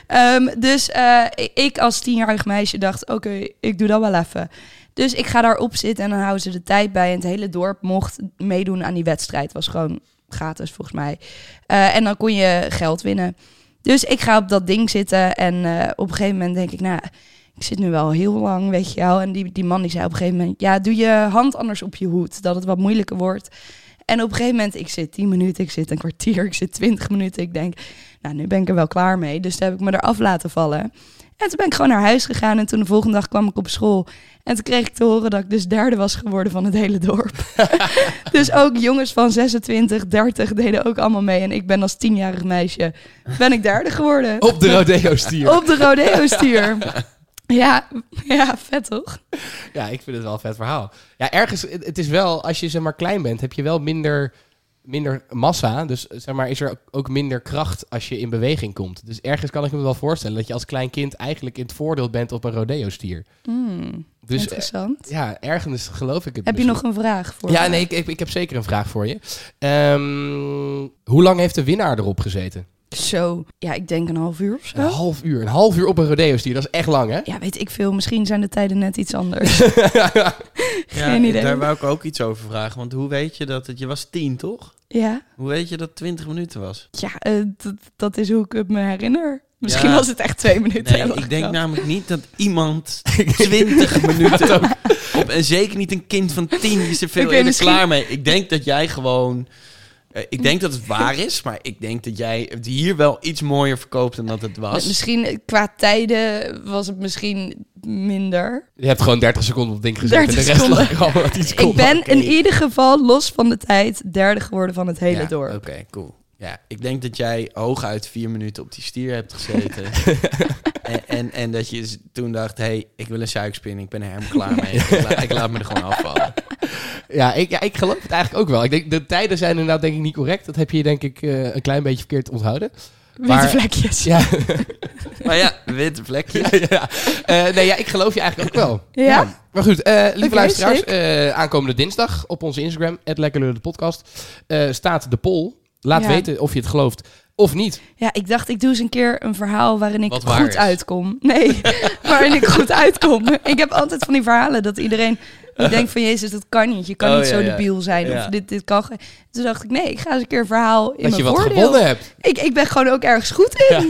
Speaker 2: gaan. Ehm, dus eh, ik als tienjarig meisje dacht, oké, ik doe dat wel even. Dus ik ga daarop zitten en dan houden ze de tijd bij. En het hele dorp mocht meedoen aan die wedstrijd. Was gewoon gratis volgens mij. Eh, en dan kon je geld winnen. Dus ik ga op dat ding zitten en eh, op een gegeven moment denk ik, nou, ik zit nu wel heel lang, weet je wel. En die, die man die zei op een gegeven moment, ja, doe je hand anders op je hoed, dat het wat moeilijker wordt. En op een gegeven moment, ik zit 10 minuten, ik zit een kwartier, ik zit 20 minuten. Ik denk, nou, nu ben ik er wel klaar mee. Dus toen heb ik me eraf laten vallen. En toen ben ik gewoon naar huis gegaan. En toen de volgende dag kwam ik op school. En toen kreeg ik te horen dat ik dus derde was geworden van het hele dorp. dus ook jongens van 26, 30 deden ook allemaal mee. En ik ben als tienjarig meisje, ben ik derde geworden.
Speaker 1: Op de rodeo-stier.
Speaker 2: Op de rodeo-stier. ja, ja, vet toch?
Speaker 1: Ja, ik vind het wel een vet verhaal. Ja, ergens, het het is wel, als je zeg maar klein bent, heb je wel minder, minder massa. Dus eh, zeg maar, is er ook minder kracht als je in beweging komt. Dus ergens kan ik me wel voorstellen dat je als klein kind eigenlijk in het voordeel bent op een rodeo-stier.
Speaker 2: Hmm,
Speaker 1: Dus eh,
Speaker 2: interessant.
Speaker 1: ja, ergens geloof ik het.
Speaker 2: heb je
Speaker 1: misschien.
Speaker 2: nog een vraag voor
Speaker 1: Ja,
Speaker 2: me?
Speaker 1: nee, ik, ik, ik heb zeker een vraag voor je. Ehm, hoe lang heeft de winnaar erop gezeten?
Speaker 2: Zo, ja, ik denk een half uur of zo.
Speaker 1: Een half uur. Een half uur op een rodeo-stier, dat is echt lang, hè?
Speaker 2: Ja, weet ik veel. Misschien zijn de tijden net iets anders. Geen idee.
Speaker 3: Daar wou ik ook iets over vragen. Want hoe weet je dat het... Je was tien, toch?
Speaker 2: Ja,
Speaker 3: Hoe weet je dat 20 minuten was?
Speaker 2: ja eh, dat, dat is hoe ik het me herinner. Misschien
Speaker 3: Ja.
Speaker 2: was het echt twee minuten.
Speaker 3: Nee,
Speaker 2: en lag
Speaker 3: ik denk nou,
Speaker 2: wel.
Speaker 3: namelijk niet dat iemand 20 minuten op... En zeker niet een kind van 10 die is er veel
Speaker 2: Oké,
Speaker 3: eerder
Speaker 2: misschien-
Speaker 3: klaar mee. Ik denk dat jij gewoon... eh, Ik denk dat het waar is, maar ik denk dat jij het hier wel iets mooier verkoopt dan dat het was.
Speaker 2: Misschien eh, qua tijden was het misschien minder.
Speaker 1: Je hebt gewoon 30 seconden op het ding gezet. En de
Speaker 2: 30
Speaker 1: rest
Speaker 2: seconden.
Speaker 1: lag gewoon wat iets
Speaker 2: ik ben in ieder geval, los van de tijd, derde geworden van het hele
Speaker 3: Ja, eh,
Speaker 2: dorp.
Speaker 3: Oké, cool. Ja, ik denk dat jij hooguit vier minuten op die stier hebt gezeten. en, en, en dat je z- toen dacht, hé, hey, ik wil een suikspin, ik ben er helemaal klaar mee. Ik, la- ik laat me er gewoon afvallen.
Speaker 1: Ja ik, ja, ik geloof het eigenlijk ook wel. Ik denk, de tijden zijn inderdaad denk ik niet correct. Dat heb je denk ik eh, een klein beetje verkeerd onthouden.
Speaker 2: Witte
Speaker 1: Maar-
Speaker 2: vlekjes. Ja?
Speaker 1: Ja,
Speaker 3: Maar ja, witte vlekjes.
Speaker 1: ja, ja. Eh, nee, ja, ik geloof je eigenlijk ook wel. Maar goed, eh, lieve
Speaker 2: Oké,
Speaker 1: luisteraars. eh, aankomende dinsdag op onze Instagram, het podcast, staat de poll. Laat
Speaker 2: Ja.
Speaker 1: weten of je het gelooft of niet.
Speaker 2: Ja, ik dacht, ik doe eens een keer een verhaal waarin ik
Speaker 3: Wat waar
Speaker 2: goed
Speaker 3: is.
Speaker 2: uitkom. Nee, waarin ik goed uitkom. Ik heb altijd van die verhalen dat iedereen die denkt van... Jezus, dat kan niet. Je kan
Speaker 3: Oh,
Speaker 2: niet zo
Speaker 3: ja, ja.
Speaker 2: debiel zijn. Of
Speaker 3: Ja.
Speaker 2: dit, dit kan... ge- Toen dacht ik, nee, ik ga eens een keer een verhaal in
Speaker 1: dat je
Speaker 2: mijn
Speaker 1: wat
Speaker 2: voordeel.
Speaker 1: gewonnen hebt.
Speaker 2: Ik, ik ben gewoon ook ergens goed in.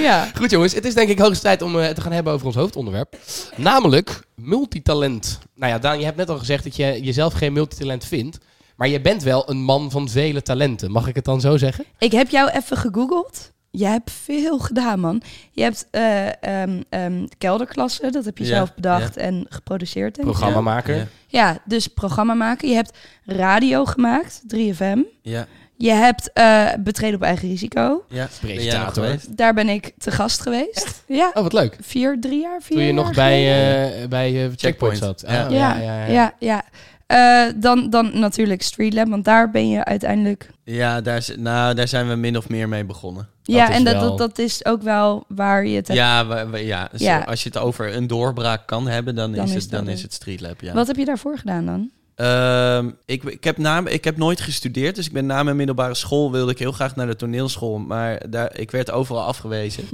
Speaker 2: Ja.
Speaker 1: Goed jongens, het is denk ik hoogste tijd om eh, het te gaan hebben over ons hoofdonderwerp. Namelijk multitalent. Nou ja, Daan, je hebt net al gezegd dat je jezelf geen multitalent vindt. Maar je bent wel een man van vele talenten. Mag ik het dan zo zeggen?
Speaker 2: Ik heb jou even gegoogeld. je hebt veel gedaan, man. Je hebt eh, ehm, ehm, kelderklassen, dat heb je
Speaker 3: Ja,
Speaker 2: zelf bedacht en geproduceerd. Denk ik.
Speaker 1: Programmamaker.
Speaker 3: Ja.
Speaker 2: Ja, dus programma maken. Je hebt radio gemaakt, 3FM.
Speaker 3: Ja,
Speaker 2: Je hebt eh, betreden op eigen risico.
Speaker 3: ja. Ben jij nog
Speaker 1: Presentator.
Speaker 3: geweest?
Speaker 2: Daar ben ik te gast geweest. Ja,
Speaker 1: Oh, wat leuk.
Speaker 2: vier, drie jaar, vier
Speaker 1: Toen je
Speaker 2: jaar
Speaker 1: nog bij,
Speaker 2: geleden.
Speaker 1: eh, bij eh, Checkpoint
Speaker 3: Checkpoint.
Speaker 1: zat. Ah,
Speaker 3: Ja.
Speaker 2: ja, ja, ja. Eh, dan, dan natuurlijk Streetlab, want daar ben je uiteindelijk...
Speaker 3: Ja, daar, is- nou, daar zijn we min of meer mee begonnen.
Speaker 2: ja,
Speaker 1: is
Speaker 2: en dat,
Speaker 1: wel-
Speaker 2: dat, dat is ook wel waar je het hebt.
Speaker 3: Ja, we- we- ja, dus
Speaker 2: Ja.
Speaker 3: als je het over een doorbraak kan hebben, dan, is, het,
Speaker 2: dat
Speaker 3: dan
Speaker 2: het.
Speaker 3: is het Streetlab. Ja.
Speaker 2: Wat heb je daarvoor gedaan dan?
Speaker 3: Ehm, ik, ik, heb na, ik heb nooit gestudeerd, dus ik ben na mijn middelbare school wilde ik heel graag naar de toneelschool, maar daar, ik werd overal afgewezen.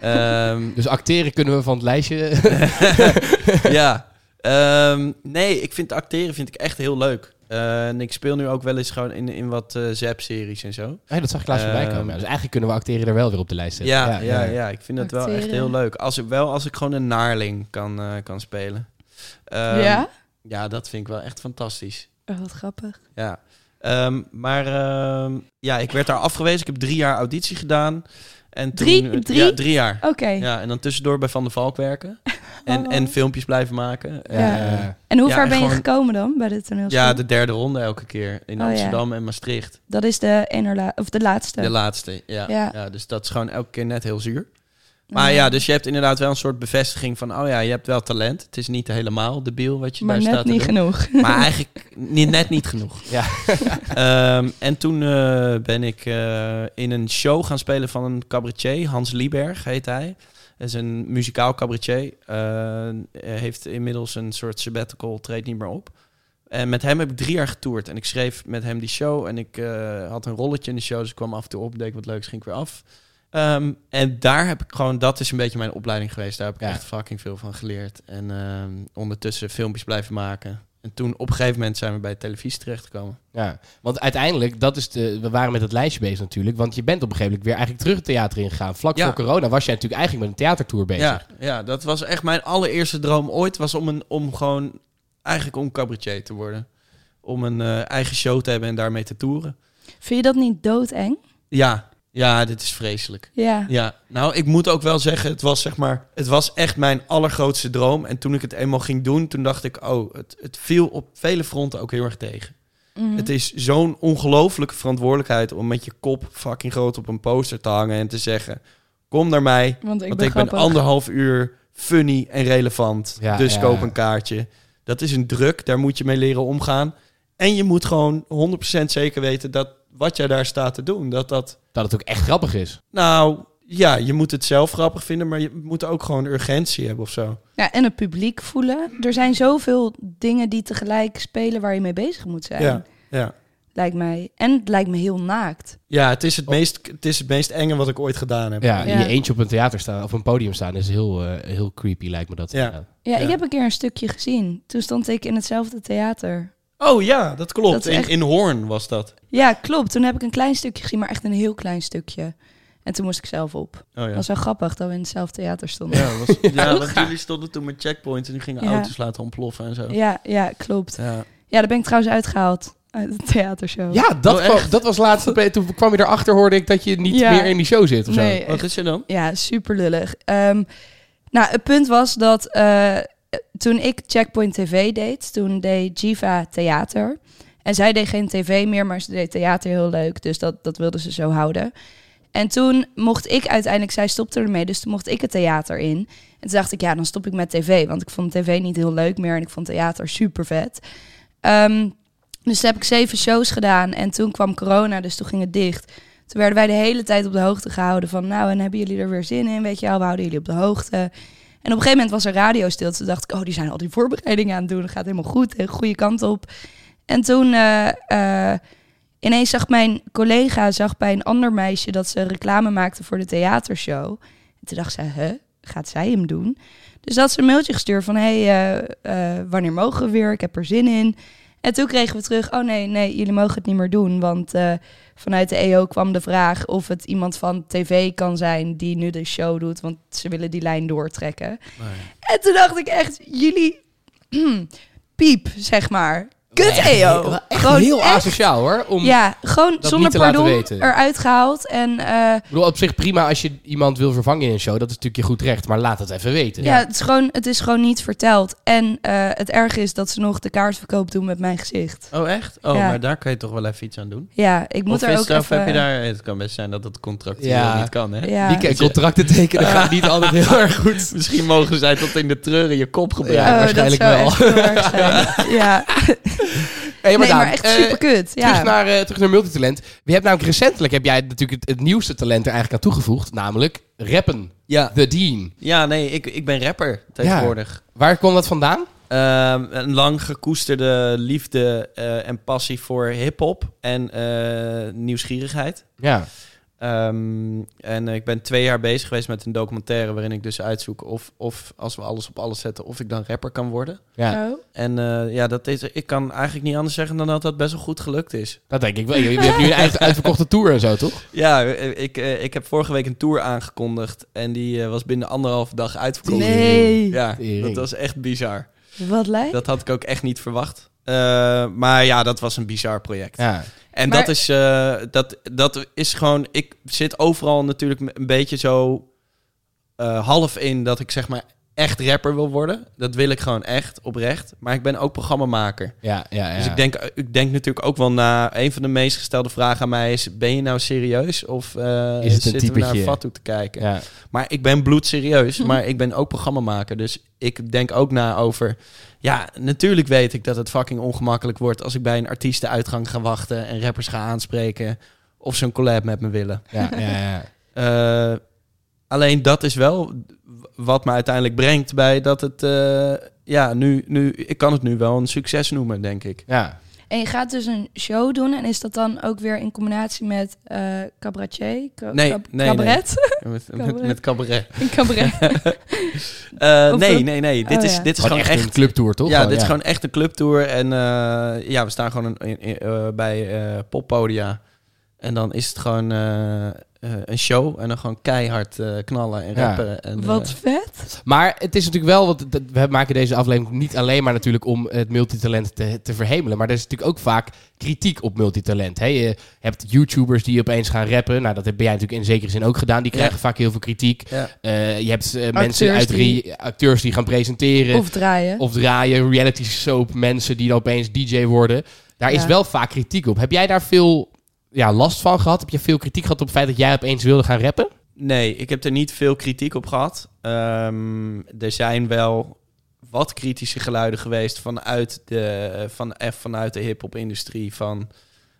Speaker 3: Ehm,
Speaker 1: Dus acteren kunnen we van het lijstje.
Speaker 3: ja. Ehm, nee, ik vind acteren vind ik echt heel leuk. Eh, en ik speel nu ook wel eens gewoon in, in wat eh zap-series en zo.
Speaker 1: Hey, dat zag ik laatst voorbij
Speaker 3: Ehm.
Speaker 1: komen. Ja, Dus eigenlijk kunnen we acteren er wel weer op de lijst zetten.
Speaker 3: Ja, ja, ja, ik vind dat wel echt
Speaker 2: Acteren.
Speaker 3: heel leuk. Als, ik- wel als ik gewoon een naarling kan, eh, kan spelen. Ehm,
Speaker 2: ja?
Speaker 3: Ja, dat vind ik wel echt fantastisch.
Speaker 2: Oh, wat grappig.
Speaker 3: Ja. Ehm, maar ehm, ja, ik werd daar afgewezen. Ik heb drie jaar auditie gedaan. En toen,
Speaker 2: Drie- drie?
Speaker 3: Ja, drie jaar.
Speaker 2: Oké.
Speaker 3: Ja, en dan tussendoor bij Van der Valk werken. En, en filmpjes blijven maken. En,
Speaker 2: Ja.
Speaker 3: eh,
Speaker 2: En hoe
Speaker 3: Ja,
Speaker 2: ver
Speaker 3: en
Speaker 2: ben je
Speaker 3: gewoon-
Speaker 2: gekomen dan bij de toneelschool?
Speaker 3: ja, de derde ronde elke keer. In
Speaker 2: Oh, ja.
Speaker 3: Amsterdam en Maastricht.
Speaker 2: Dat is de, enerla- of de laatste.
Speaker 3: De laatste. Ja.
Speaker 2: Ja.
Speaker 3: Ja. dus dat is gewoon elke keer net heel zuur. Maar ja, dus je hebt inderdaad wel een soort bevestiging van... oh ja, je hebt wel talent. Het is niet helemaal debiel wat je
Speaker 2: maar
Speaker 3: daar
Speaker 2: net
Speaker 3: staat te
Speaker 2: niet
Speaker 3: doen.
Speaker 2: genoeg.
Speaker 3: Maar eigenlijk ni- net niet genoeg.
Speaker 1: Ja.
Speaker 3: Ehm, en toen eh, ben ik eh, in een show gaan spelen van een cabaretier, Hans Lieberg heet hij. Dat is een muzikaal cabaretier. Eh, heeft inmiddels een soort sabbatical, treedt niet meer op. En met hem heb ik drie jaar getoerd. En ik schreef met hem die show. En ik eh, had een rolletje in de show. Dus ik kwam af en toe op, deed ik wat leuks, ging ik weer af. Ehm, en daar heb ik gewoon, dat is een beetje mijn opleiding geweest. Daar heb ik
Speaker 1: Ja.
Speaker 3: echt fucking veel van geleerd. En ehm, ondertussen filmpjes blijven maken. En toen op een gegeven moment zijn we bij televisie terechtgekomen.
Speaker 1: Ja, want uiteindelijk, dat is de, we waren met het lijstje bezig natuurlijk. Want je bent op een gegeven moment weer eigenlijk terug het theater ingegaan. Vlak
Speaker 3: Ja.
Speaker 1: voor corona was jij natuurlijk eigenlijk met een theatertour bezig.
Speaker 3: Ja, ja, dat was echt mijn allereerste droom ooit. Was om, een, om gewoon eigenlijk om cabaretier te worden. Om een eh, eigen show te hebben en daarmee te toeren.
Speaker 2: Vind je dat niet doodeng?
Speaker 3: Ja, ja, dit is vreselijk.
Speaker 2: Ja.
Speaker 3: Ja, nou, ik moet ook wel zeggen, het was zeg maar, het was echt mijn allergrootste droom. En toen ik het eenmaal ging doen, toen dacht ik, oh, het, het viel op vele fronten ook heel erg tegen.
Speaker 2: Mhm.
Speaker 3: Het is zo'n ongelooflijke verantwoordelijkheid om met je kop fucking groot op een poster te hangen en te zeggen, kom naar mij,
Speaker 2: Want ik
Speaker 3: want
Speaker 2: ben
Speaker 3: ik ben
Speaker 2: grappig.
Speaker 3: anderhalf uur funny en relevant.
Speaker 1: Ja,
Speaker 3: dus
Speaker 1: ja.
Speaker 3: koop een kaartje. Dat is een druk, daar moet je mee leren omgaan. En je moet gewoon 100% zeker weten dat wat jij daar staat te doen, dat dat
Speaker 1: Dat het ook echt grappig is.
Speaker 3: nou, ja, je moet het zelf grappig vinden, maar je moet ook gewoon urgentie hebben of zo.
Speaker 2: Ja, en het publiek voelen. Er zijn zoveel dingen die tegelijk spelen waar je mee bezig moet zijn.
Speaker 3: Ja, ja.
Speaker 2: Lijkt mij. En het lijkt me heel naakt.
Speaker 3: ja het, is het, meest, het is het meest enge wat ik ooit gedaan heb.
Speaker 1: Oh. Ja, in
Speaker 2: Ja.
Speaker 1: je eentje op een theater staan of een podium staan is heel, eh, heel creepy, lijkt me dat.
Speaker 3: Ja.
Speaker 2: Ja, ik
Speaker 3: Ja.
Speaker 2: heb een keer een stukje gezien. Toen stond ik in hetzelfde theater.
Speaker 3: Oh ja, dat klopt.
Speaker 2: Dat is
Speaker 3: in,
Speaker 2: echt-
Speaker 3: in Hoorn was dat.
Speaker 2: Ja, klopt. Toen heb ik een klein stukje gezien, maar echt een heel klein stukje. En toen moest ik zelf op.
Speaker 3: Oh ja.
Speaker 2: Dat was wel grappig dat we in hetzelfde theater stonden. Ja,
Speaker 3: Ja, was, ja, want jullie stonden toen met checkpoints en die gingen
Speaker 2: Ja.
Speaker 3: auto's laten ontploffen en zo.
Speaker 2: ja, klopt.
Speaker 3: Ja.
Speaker 2: Ja, daar ben ik trouwens uitgehaald. Uit de theatershow.
Speaker 1: Ja, dat,
Speaker 3: Oh,
Speaker 1: kwam-
Speaker 3: echt?
Speaker 1: dat was laatst. bij- Toen kwam je erachter, hoorde ik dat je niet
Speaker 2: Ja.
Speaker 1: meer in die show zit of zo.
Speaker 2: nee,
Speaker 3: Wat is er dan?
Speaker 2: Ja, super lullig. Ehm, nou, het punt was dat eh, toen ik Checkpoint TV deed, toen deed Jiva theater. En zij deed geen tv meer, maar ze deed theater heel leuk. Dus dat, dat wilde ze zo houden. En toen mocht ik uiteindelijk, zij stopte ermee, dus toen mocht ik het theater in. En toen dacht ik, ja, dan stop ik met tv. Want ik vond tv niet heel leuk meer en ik vond theater super vet. dus toen heb ik zeven shows gedaan en toen kwam corona, dus toen ging het dicht. Toen werden wij de hele tijd op de hoogte gehouden van... nou, en hebben jullie er weer zin in? Weet je wel, we houden jullie op de hoogte. En op een gegeven moment was er radio stil. Toen dacht ik, oh, die zijn al die voorbereidingen aan het doen. Het gaat helemaal goed, de goede kant op. En toen eh, eh, ineens zag mijn collega zag bij een ander meisje... dat ze reclame maakte voor de theatershow. En toen dacht ze, huh, gaat zij hem doen? Dus dat ze een mailtje gestuurd van... hey, eh, eh, wanneer mogen we weer? Ik heb er zin in. En toen kregen we terug, oh nee, nee, jullie mogen het niet meer doen, want... eh, vanuit de EO kwam de vraag of het iemand van tv kan zijn die nu de show doet, want ze willen die lijn doortrekken. En toen dacht ik echt, jullie piep, zeg maar. Kut EO.
Speaker 1: Echt
Speaker 2: Gewoon
Speaker 1: heel
Speaker 2: echt-
Speaker 1: asociaal hoor. Om,
Speaker 2: Ja, gewoon
Speaker 1: dat
Speaker 2: zonder
Speaker 1: niet te laten
Speaker 2: pardon
Speaker 1: weten.
Speaker 2: eruit gehaald. En eh,
Speaker 1: Ik bedoel, op zich prima als je iemand wil vervangen in een show. Dat is natuurlijk je goed recht, maar laat het even weten.
Speaker 2: ja, het, is gewoon, het is gewoon niet verteld. En eh, het erge is dat ze nog de kaartverkoop doen met mijn gezicht.
Speaker 3: Oh, echt? Oh,
Speaker 2: Ja.
Speaker 3: maar daar kan je toch wel even iets aan doen?
Speaker 2: Ja, ik moet
Speaker 3: of
Speaker 2: er
Speaker 3: is
Speaker 2: ook
Speaker 3: het- of
Speaker 2: even...
Speaker 3: heb je daar... Het kan best zijn dat het contract
Speaker 1: Ja.
Speaker 3: niet kan, hè?
Speaker 2: Ja.
Speaker 1: Die kan- contracten tekenen gaat niet altijd heel erg goed.
Speaker 3: Misschien mogen zij tot in de treuren je kop gebruiken.
Speaker 1: Ja,
Speaker 2: Oh,
Speaker 1: waarschijnlijk
Speaker 2: dat zou
Speaker 1: wel.
Speaker 2: echt heel erg zijn. ja.
Speaker 1: Hey,
Speaker 2: Nee, maar
Speaker 1: Daan,
Speaker 2: echt
Speaker 1: eh,
Speaker 2: super kut. Ja.
Speaker 1: terug, naar, eh terug naar multitalent. Je hebt namelijk recentelijk heb jij natuurlijk het, het nieuwste talent er eigenlijk aan toegevoegd. Namelijk rappen.
Speaker 3: Ja.
Speaker 1: The Dean.
Speaker 3: Ja, nee, ik, ik ben rapper tegenwoordig.
Speaker 1: Waar kwam dat vandaan?
Speaker 3: Ehm, een lang gekoesterde liefde eh, en passie voor hip-hop en eh, nieuwsgierigheid.
Speaker 1: Ja.
Speaker 3: Ehm, en eh, ik ben twee jaar bezig geweest met een documentaire waarin ik dus uitzoek of, of als we alles op alles zetten, of ik dan rapper kan worden.
Speaker 1: ja.
Speaker 2: Oh.
Speaker 3: En eh, ja, dat is, ik kan eigenlijk niet anders zeggen dan dat dat best wel goed gelukt is.
Speaker 1: Dat denk ik wel. Je, je hebt nu een eigen uitverkochte tour en zo, toch?
Speaker 3: Ja, eh, ik, eh, ik heb vorige week een tour aangekondigd en die eh, was binnen anderhalf dag uitverkocht.
Speaker 2: Nee,
Speaker 3: Ja,
Speaker 1: Tering.
Speaker 3: dat was echt bizar.
Speaker 2: wat lijkt.
Speaker 3: Dat had ik ook echt niet verwacht. Eh, maar ja, dat was een bizar project.
Speaker 1: Ja.
Speaker 3: En
Speaker 2: Maar-
Speaker 3: dat, is, eh, dat, dat is gewoon... Ik zit overal natuurlijk een beetje zo eh, half in dat ik zeg maar echt rapper wil worden. Dat wil ik gewoon echt, oprecht. Maar ik ben ook programmamaker.
Speaker 1: Ja, ja, ja.
Speaker 3: Dus ik denk, ik denk natuurlijk ook wel na... Een van de meest gestelde vragen aan mij is... Ben je nou serieus? Of eh,
Speaker 1: Is het een
Speaker 3: zitten we naar een
Speaker 1: typetje?
Speaker 3: vat toe te kijken?
Speaker 1: Ja.
Speaker 3: Maar ik ben bloedserieus, maar ik ben ook programmamaker. Dus ik denk ook na over... Ja, natuurlijk weet ik dat het fucking ongemakkelijk wordt... als ik bij een artiestenuitgang ga wachten... en rappers ga aanspreken of ze een collab met me willen.
Speaker 1: Ja, ja, ja.
Speaker 3: Eh, alleen dat is wel wat me uiteindelijk brengt bij dat het... eh, ja, nu, nu, ik kan het nu wel een succes noemen, denk ik.
Speaker 1: ja.
Speaker 2: En je gaat dus een show doen en is dat dan ook weer in combinatie met eh cabaretier? Ca-
Speaker 3: Nee,
Speaker 2: cab-
Speaker 3: nee,
Speaker 2: cabaret?
Speaker 3: Met, met,
Speaker 2: Cabaret.
Speaker 3: met cabaret.
Speaker 2: Een cabaret.
Speaker 3: Eh,
Speaker 2: Of
Speaker 3: nee,
Speaker 2: een-
Speaker 3: nee, nee. Dit
Speaker 2: Oh,
Speaker 3: is,
Speaker 2: ja.
Speaker 3: dit is
Speaker 1: Gewoon
Speaker 3: gewoon
Speaker 1: echt
Speaker 3: echt...
Speaker 1: een clubtour, toch?
Speaker 3: Ja, dit is gewoon echt een clubtour. En eh, ja, we staan gewoon een, in- in- eh, bij eh, poppodia. En dan is het gewoon eh, eh, een show. En dan gewoon keihard eh, knallen en
Speaker 1: Ja.
Speaker 3: rappen. En,
Speaker 2: Wat
Speaker 3: eh,
Speaker 2: vet.
Speaker 1: Maar het is natuurlijk wel, want dat- we maken deze aflevering niet alleen maar natuurlijk om het multitalent te, te verhemelen. Maar er is natuurlijk ook vaak kritiek op multitalent. hè. je hebt YouTubers die opeens gaan rappen. Nou, dat heb jij natuurlijk in zekere zin ook gedaan. Die krijgen
Speaker 3: Ja.
Speaker 1: vaak heel veel kritiek.
Speaker 3: ja.
Speaker 1: Eh, je hebt eh, mensen uit
Speaker 2: die-
Speaker 1: re- acteurs die gaan presenteren of,
Speaker 2: Of draaien.
Speaker 1: draaien. Reality soap mensen die dan opeens DJ worden. Daar is
Speaker 2: Ja.
Speaker 1: wel vaak kritiek op. Heb jij daar veel ja, last van gehad? Heb je veel kritiek gehad op het feit dat jij opeens wilde gaan rappen?
Speaker 3: Nee, ik heb er niet veel kritiek op gehad. Ehm, er zijn wel wat kritische geluiden geweest vanuit de, van, eh, vanuit de hip-hop-industrie. Van,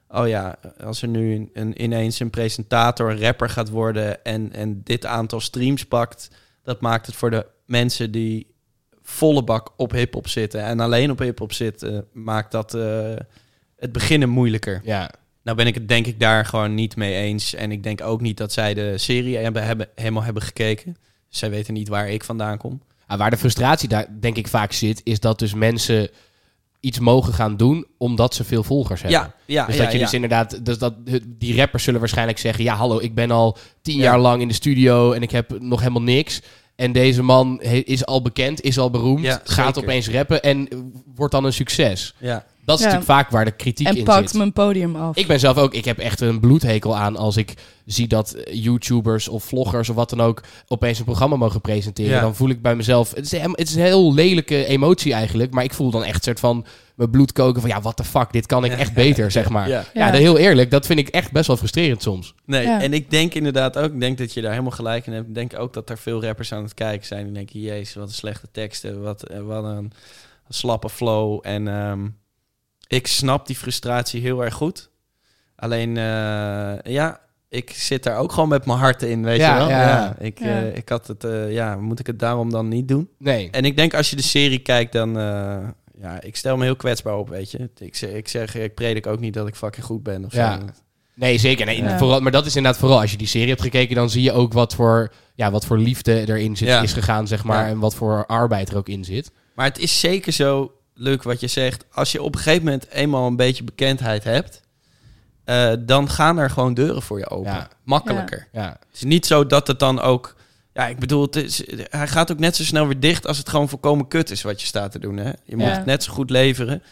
Speaker 3: oh ja, als er nu een, een- ineens een presentator, een rapper gaat worden en, en dit aantal streams pakt, dat maakt het voor de mensen die volle bak op hip-hop zitten en alleen op hip-hop zitten, maakt dat eh, het beginnen moeilijker.
Speaker 1: Ja,
Speaker 3: Nou ben ik het denk ik daar gewoon niet mee eens. En ik denk ook niet dat zij de serie hebben, hebben, helemaal hebben gekeken. Zij weten niet waar ik vandaan kom.
Speaker 1: Ah, waar de frustratie daar denk ik vaak zit, is dat dus mensen iets mogen gaan doen omdat ze veel volgers hebben.
Speaker 3: Ja, ja,
Speaker 1: Dus
Speaker 3: ja,
Speaker 1: dat je
Speaker 3: ja.
Speaker 1: dus inderdaad, dus dat, die rappers zullen waarschijnlijk zeggen: Ja, hallo, ik ben al tien
Speaker 3: Ja.
Speaker 1: jaar lang in de studio en ik heb nog helemaal niks. En deze man he- is al bekend, is al beroemd,
Speaker 3: Ja,
Speaker 1: gaat
Speaker 3: zeker.
Speaker 1: opeens rappen en eh, wordt dan een succes.
Speaker 3: Ja.
Speaker 1: Dat is
Speaker 2: Ja.
Speaker 1: natuurlijk vaak waar de kritiek
Speaker 2: En
Speaker 1: in zit.
Speaker 2: pakt mijn podium af.
Speaker 1: Ik ben zelf ook, ik heb echt een bloedhekel aan als ik zie dat eh, YouTubers of vloggers of wat dan ook opeens een programma mogen presenteren.
Speaker 3: Ja.
Speaker 1: Dan voel ik bij mezelf, het is, hem- het is een heel lelijke emotie eigenlijk, maar ik voel dan echt soort van mijn bloed koken van ja, what the fuck, dit kan ik echt beter, zeg maar. Ja,
Speaker 3: Ja.
Speaker 2: Ja.
Speaker 1: heel eerlijk, dat vind ik echt best wel frustrerend soms.
Speaker 3: Nee,
Speaker 2: Ja.
Speaker 3: en ik denk inderdaad ook, ik denk dat je daar helemaal gelijk in hebt. Ik denk ook dat er veel rappers aan het kijken zijn. Die denken, jezus, wat een slechte teksten, wat, eh, wat een slappe flow. En ehm, ik snap die frustratie heel erg goed. Alleen, eh, ja, ik zit daar ook gewoon met mijn hart in, weet
Speaker 1: Ja,
Speaker 3: je wel.
Speaker 1: ja.
Speaker 3: ik,
Speaker 2: Ja.
Speaker 3: eh, ik had het, eh, ja, moet ik het daarom dan niet doen?
Speaker 1: Nee.
Speaker 3: En ik denk als je de serie kijkt, dan... eh, ja, ik stel me heel kwetsbaar op, weet je. Ik zeg, ik, zeg, ik predik ook niet dat ik fucking goed ben of
Speaker 1: Ja.
Speaker 3: zo.
Speaker 1: Nee, zeker. Nee,
Speaker 2: Ja.
Speaker 1: vooral, maar dat is inderdaad vooral als je die serie hebt gekeken, dan zie je ook wat voor, ja, wat voor liefde erin zit,
Speaker 3: Ja.
Speaker 1: is gegaan, zeg maar,
Speaker 3: Ja.
Speaker 1: en wat voor arbeid er ook in zit.
Speaker 3: Maar het is zeker zo, leuk wat je zegt. Als je op een gegeven moment eenmaal een beetje bekendheid hebt... eh, dan gaan er gewoon deuren voor je open.
Speaker 1: Ja.
Speaker 3: Makkelijker.
Speaker 1: Ja.
Speaker 3: Het is niet zo dat het dan ook... Ja, ik bedoel, het is, hij gaat ook net zo snel weer dicht... als het gewoon volkomen kut is wat je staat te doen. Hè? Je moet
Speaker 2: Ja.
Speaker 3: het net zo goed leveren.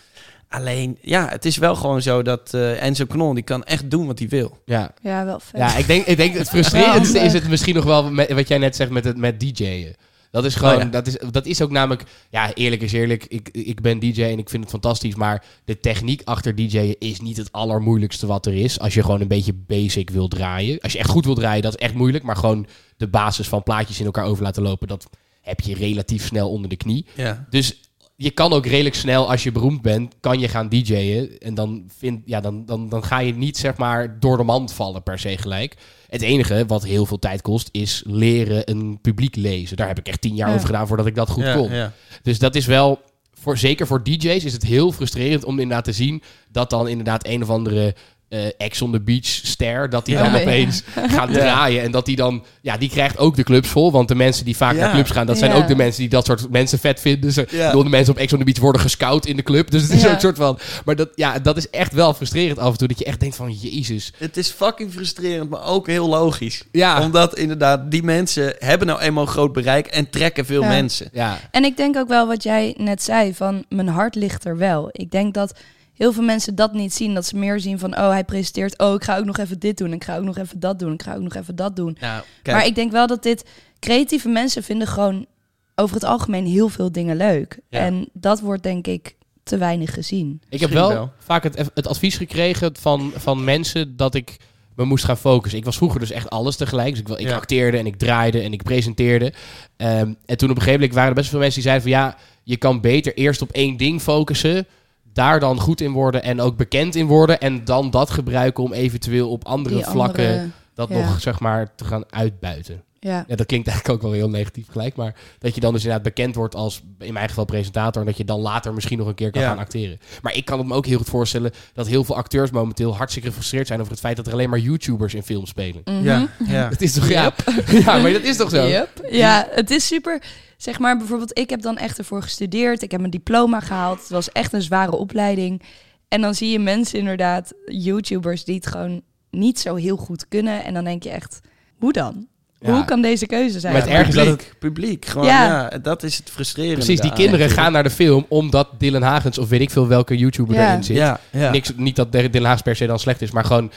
Speaker 3: Alleen, ja, het is wel gewoon zo dat eh Enzo Knol, die kan echt doen wat hij wil.
Speaker 1: Ja.
Speaker 2: Ja, wel vet.
Speaker 1: Ja, ik denk, ik denk het frustrerendste is het misschien nog wel met, wat jij net zegt met, het, met DJ'en. Dat is gewoon,
Speaker 3: Oh ja.
Speaker 1: dat, is, dat is ook namelijk, ja, eerlijk is eerlijk, ik, ik ben DJ en ik vind het fantastisch, maar de techniek achter DJ'en is niet het allermoeilijkste wat er is. Als je gewoon een beetje basic wil draaien. Als je echt goed wil draaien, dat is echt moeilijk, maar gewoon de basis van plaatjes in elkaar over laten lopen, dat heb je relatief snel onder de knie.
Speaker 3: Ja.
Speaker 1: Dus je kan ook redelijk snel, als je beroemd bent, kan je gaan DJ'en. En dan, vind, ja, dan, dan, dan ga je niet zeg maar door de mand vallen per se gelijk. Het enige wat heel veel tijd kost, is leren een publiek lezen. Daar heb ik echt tien jaar
Speaker 2: Ja.
Speaker 1: over gedaan voordat ik dat goed
Speaker 3: ja,
Speaker 1: kon.
Speaker 3: ja.
Speaker 1: Dus dat is wel, voor, zeker voor DJ's, is het heel frustrerend om inderdaad te zien dat dan inderdaad een of andere eh ex on the beach ster, dat die
Speaker 3: Ja.
Speaker 1: dan
Speaker 2: Oh, ja.
Speaker 1: opeens gaat
Speaker 3: Ja.
Speaker 1: draaien. En dat die dan, ja, die krijgt ook de clubs vol. Want de mensen die vaak
Speaker 3: Ja.
Speaker 1: naar clubs gaan, dat zijn
Speaker 2: Ja.
Speaker 1: ook de mensen die dat soort mensen vet vinden. Ze,
Speaker 3: Ja.
Speaker 1: ik bedoel, de mensen op ex on the beach worden gescout in de club. Dus het is
Speaker 2: Ja.
Speaker 1: ook een soort van, maar dat, ja, dat is echt wel frustrerend af en toe. Dat je echt denkt van, jezus.
Speaker 3: Het is fucking frustrerend, maar ook heel logisch.
Speaker 1: Ja.
Speaker 3: Omdat inderdaad, die mensen hebben nou eenmaal een groot bereik en trekken veel
Speaker 2: Ja.
Speaker 3: mensen.
Speaker 1: Ja,
Speaker 2: En ik denk ook wel wat jij net zei, van mijn hart ligt er wel. Ik denk dat heel veel mensen dat niet zien. Dat ze meer zien van, oh, hij presenteert. Oh, ik ga ook nog even dit doen. Ik ga ook nog even dat doen. Ik ga ook nog even dat doen.
Speaker 3: Nou,
Speaker 2: Maar ik denk wel dat dit... Creatieve mensen vinden gewoon over het algemeen heel veel dingen leuk.
Speaker 3: Ja.
Speaker 2: En dat wordt denk ik te weinig gezien.
Speaker 1: Ik heb
Speaker 3: Misschien
Speaker 1: wel,
Speaker 3: wel.
Speaker 1: vaak het, het advies gekregen van, van mensen dat ik me moest gaan focussen. Ik was vroeger dus echt alles tegelijk. Dus ik, wel- ik
Speaker 3: Ja.
Speaker 1: acteerde en ik draaide en ik presenteerde. Ehm, en toen op een gegeven moment waren er best veel mensen die zeiden van... ja, je kan beter eerst op één ding focussen... daar dan goed in worden en ook bekend in worden... en dan dat gebruiken om eventueel op andere
Speaker 2: Die
Speaker 1: vlakken...
Speaker 2: andere-
Speaker 1: dat
Speaker 2: ja.
Speaker 1: nog, zeg maar, te gaan uitbuiten.
Speaker 2: Ja.
Speaker 1: Ja, dat klinkt eigenlijk ook wel heel negatief gelijk... maar dat je dan dus inderdaad bekend wordt als, in mijn geval, presentator... en dat je dan later misschien nog een keer kan
Speaker 3: Ja.
Speaker 1: gaan acteren. Maar ik kan het me ook heel goed voorstellen dat heel veel acteurs momenteel hartstikke gefrustreerd zijn over het feit dat er alleen maar YouTubers in films spelen.
Speaker 2: Mhm.
Speaker 3: Ja, ja.
Speaker 1: Het is toch ja, ja, maar dat is toch zo?
Speaker 2: Yep. Ja, het is super. Zeg maar bijvoorbeeld, ik heb dan echt ervoor gestudeerd. Ik heb mijn diploma gehaald. Het was echt een zware opleiding. En dan zie je mensen inderdaad, YouTubers, die het gewoon niet zo heel goed kunnen. En dan denk je echt, hoe dan?
Speaker 1: Ja.
Speaker 2: Hoe kan deze keuze zijn?
Speaker 1: Met
Speaker 3: Ja,
Speaker 1: erg is dat
Speaker 3: publiek, publiek. Gewoon, ja.
Speaker 2: Ja.
Speaker 3: dat is het frustrerende.
Speaker 1: Precies, die
Speaker 3: daaraan.
Speaker 1: kinderen gaan naar de film omdat Dylan Hagens of weet ik veel welke YouTuber
Speaker 2: Ja.
Speaker 1: erin zit.
Speaker 3: Ja, ja.
Speaker 1: Niks, niet dat Dylan Hagens per se dan slecht is, maar gewoon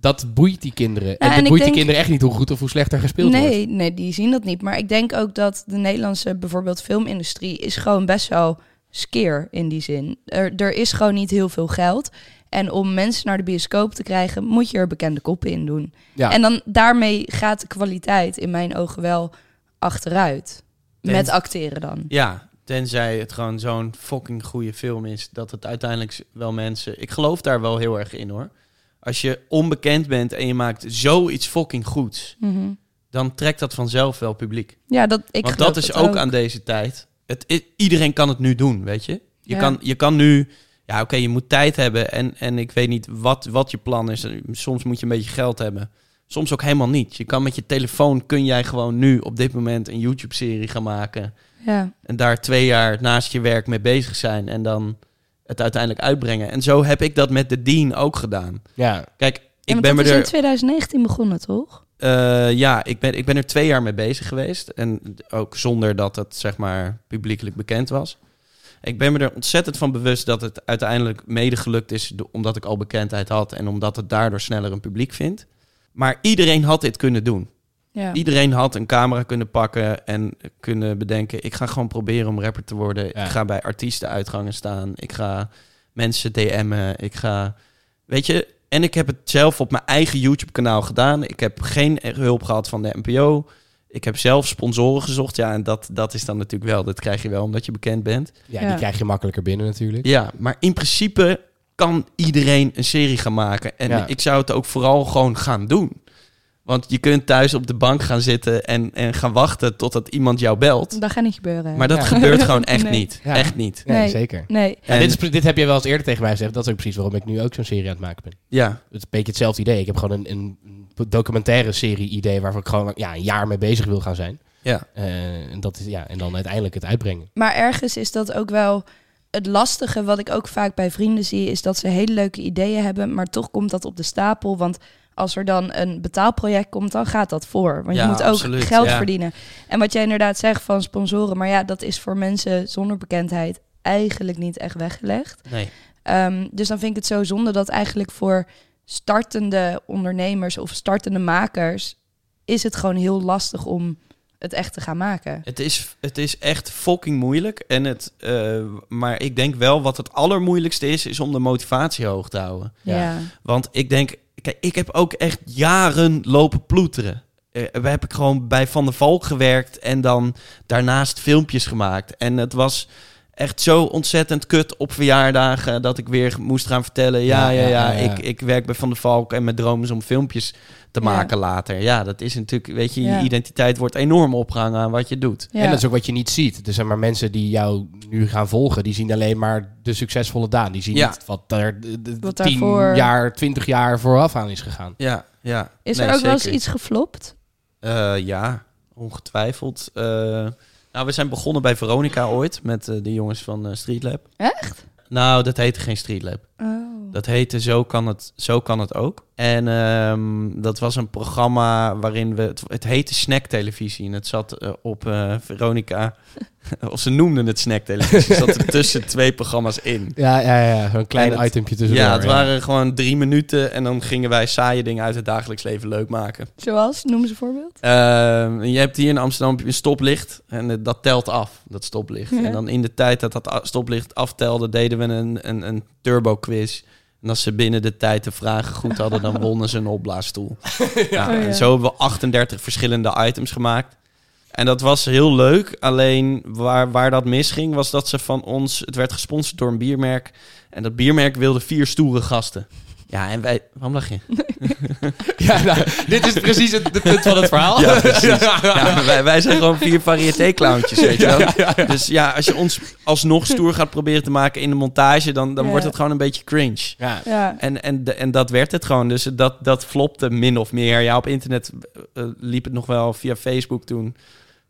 Speaker 1: dat boeit die kinderen. en
Speaker 2: en
Speaker 1: dat
Speaker 2: ik
Speaker 1: boeit die
Speaker 2: denk-
Speaker 1: kinderen echt niet hoe goed of hoe slecht er gespeeld wordt.
Speaker 2: nee, nee, die zien dat niet. Maar ik denk ook dat de Nederlandse bijvoorbeeld filmindustrie is gewoon best wel skeer in die zin. Er, er is gewoon niet heel veel geld. En om mensen naar de bioscoop te krijgen, moet je er bekende koppen in doen.
Speaker 1: Ja.
Speaker 2: En dan daarmee gaat de kwaliteit in mijn ogen wel achteruit.
Speaker 3: Nee.
Speaker 2: Met acteren dan.
Speaker 3: Ja, tenzij het gewoon zo'n fucking goede film is. Dat het uiteindelijk wel mensen... Ik geloof daar wel heel erg in hoor. Als je onbekend bent en je maakt zoiets fucking goeds...
Speaker 2: Mhm.
Speaker 3: dan trekt dat vanzelf wel publiek.
Speaker 2: Ja, dat ik
Speaker 3: Want
Speaker 2: geloof
Speaker 3: dat is
Speaker 2: het
Speaker 3: ook, aan deze tijd. Het i- iedereen kan het nu doen, weet je? Je,
Speaker 2: Ja.
Speaker 3: kan, je kan nu... Ja, oké, je moet tijd hebben. En, en ik weet niet wat, wat je plan is. Soms moet je een beetje geld hebben. Soms ook helemaal niet. Je kan met je telefoon... kun jij gewoon nu op dit moment een YouTube-serie gaan maken...
Speaker 2: Ja.
Speaker 3: En daar twee jaar naast je werk mee bezig zijn. En dan het uiteindelijk uitbrengen. En zo heb ik dat met de Dean ook gedaan.
Speaker 1: Ja.
Speaker 3: Kijk,
Speaker 2: Ik
Speaker 3: ik ben me
Speaker 2: dat is in
Speaker 3: er.
Speaker 2: 2019 begonnen, toch?
Speaker 3: eh, ja, ik ben, ik ben er twee jaar mee bezig geweest. En ook zonder dat het zeg maar publiekelijk bekend was. Ik ben me er ontzettend van bewust dat het uiteindelijk mede gelukt is. do- omdat ik al bekendheid had. En omdat het daardoor sneller een publiek vindt. Maar iedereen had dit kunnen doen.
Speaker 2: Ja.
Speaker 3: Iedereen had een camera kunnen pakken en kunnen bedenken... ik ga gewoon proberen om rapper te worden.
Speaker 1: Ja.
Speaker 3: Ik ga bij artiestenuitgangen staan. Ik ga mensen DM'en. Ik ga... Weet je... En ik heb het zelf op mijn eigen YouTube-kanaal gedaan. Ik heb geen hulp gehad van de NPO. Ik heb zelf sponsoren gezocht. Ja, en dat, dat is dan natuurlijk wel... Dat krijg je wel omdat je bekend bent.
Speaker 1: Ja,
Speaker 2: Ja.
Speaker 1: die krijg je makkelijker binnen natuurlijk.
Speaker 3: Ja, maar in principe kan iedereen een serie gaan maken. En
Speaker 1: Ja.
Speaker 3: ik zou het ook vooral gewoon gaan doen. Want je kunt thuis op de bank gaan zitten en, en gaan wachten totdat iemand jou belt.
Speaker 2: Dat gaat niet gebeuren.
Speaker 3: Maar dat
Speaker 1: Ja.
Speaker 3: gebeurt gewoon echt
Speaker 2: Nee.
Speaker 3: niet.
Speaker 1: Ja.
Speaker 3: Echt niet.
Speaker 1: Nee,
Speaker 2: Nee.
Speaker 1: zeker.
Speaker 2: Nee.
Speaker 1: Ja,
Speaker 3: En-
Speaker 1: dit, is, pre- dit heb je wel eens eerder tegen mij gezegd. Dat is ook precies waarom ik nu ook zo'n serie aan het maken ben.
Speaker 3: Ja,
Speaker 1: het is een beetje hetzelfde idee. Ik heb gewoon een, een documentaire serie idee waarvan ik gewoon ja, een jaar mee bezig wil gaan zijn.
Speaker 3: ja.
Speaker 1: Eh, en, dat is, ja, en dan uiteindelijk het uitbrengen.
Speaker 2: Maar ergens is dat ook wel het lastige wat ik ook vaak bij vrienden zie, is dat ze hele leuke ideeën hebben, maar toch komt dat op de stapel. Want als er dan een betaalproject komt, dan gaat dat voor. Want
Speaker 3: Ja,
Speaker 2: je moet ook
Speaker 3: absoluut,
Speaker 2: geld
Speaker 3: ja.
Speaker 2: verdienen. En wat jij inderdaad zegt van sponsoren, maar ja, dat is voor mensen zonder bekendheid eigenlijk niet echt weggelegd.
Speaker 3: Nee.
Speaker 2: Ehm, dus dan vind ik het zo zonde dat eigenlijk voor startende ondernemers of startende makers is het gewoon heel lastig om het echt te gaan maken.
Speaker 3: Het is, het is echt fucking moeilijk. En het, eh, maar ik denk wel wat het allermoeilijkste is, is om de motivatie hoog te houden.
Speaker 1: Ja.
Speaker 3: Want ik denk, kijk, ik heb ook echt jaren lopen ploeteren. Eh, Daar heb ik gewoon bij Van der Valk gewerkt en dan daarnaast filmpjes gemaakt. En het was echt zo ontzettend kut op verjaardagen dat ik weer moest gaan vertellen... ja, ja, ja,
Speaker 1: ja, ja.
Speaker 3: Ik, ik werk bij Van der Valk en mijn droom is om filmpjes te
Speaker 2: Ja.
Speaker 3: maken later. Ja, dat is natuurlijk, weet je,
Speaker 2: Ja.
Speaker 3: je identiteit wordt enorm opgehangen aan wat je doet.
Speaker 2: Ja.
Speaker 1: En dat is ook wat je niet ziet. Er zijn maar mensen die jou nu gaan volgen. Die zien alleen maar de succesvolle Daan. Die zien
Speaker 3: Ja.
Speaker 1: niet wat daar de, de-
Speaker 2: Wat
Speaker 1: tien
Speaker 2: daarvoor-
Speaker 1: jaar, twintig jaar vooraf aan is gegaan.
Speaker 3: Ja, ja.
Speaker 2: Is
Speaker 3: Nee,
Speaker 2: er ook wel eens
Speaker 3: zeker.
Speaker 2: iets geflopt?
Speaker 3: Eh, ja, ongetwijfeld. Eh, nou, we zijn begonnen bij Veronica ooit met eh, de jongens van eh, Street Lab.
Speaker 2: Echt?
Speaker 3: Nou, dat heette geen Street Lab.
Speaker 2: Oh.
Speaker 3: Dat heette Zo kan het, zo kan het ook. En ehm, dat was een programma waarin we... Het, het heette Snack Televisie en het zat eh, op eh, Veronica... of ze noemden het Snack Televisie. Het zat er tussen twee programma's in.
Speaker 1: Ja, ja, ja. Zo'n klein
Speaker 3: En het-
Speaker 1: itempje tussendoor.
Speaker 3: Ja, het waren gewoon drie minuten en dan gingen wij saaie dingen uit het dagelijks leven leuk maken.
Speaker 2: Zoals? Noem ze een voorbeeld.
Speaker 3: Ehm, je hebt hier in Amsterdam een stoplicht en eh, dat telt af, dat stoplicht.
Speaker 2: Ja.
Speaker 3: En dan in de tijd dat dat a- stoplicht aftelde, deden we een, een, een turbo quiz. En als ze binnen de tijd de vragen goed hadden, dan wonnen ze een opblaasstoel. ja.
Speaker 2: Oh, ja.
Speaker 3: en zo hebben we 38 verschillende items gemaakt. En dat was heel leuk. Alleen waar, waar dat misging, was dat ze van ons... Het werd gesponsord door een biermerk. En dat biermerk wilde vier stoere gasten. Ja, en wij... Waarom lach je?
Speaker 1: Ja, nou, dit is precies het, het punt van het verhaal.
Speaker 3: Ja, precies. Ja, maar wij, wij zijn gewoon vier variété-clowntjes, weet je wel. Dus ja, als je ons alsnog stoer gaat proberen te maken in de montage, dan, dan
Speaker 2: Ja.
Speaker 3: wordt het gewoon een beetje cringe.
Speaker 1: Ja.
Speaker 2: Ja.
Speaker 3: En, en, de- en dat werd het gewoon. Dus dat, dat flopte min of meer. Ja, op internet eh, liep het nog wel via Facebook toen.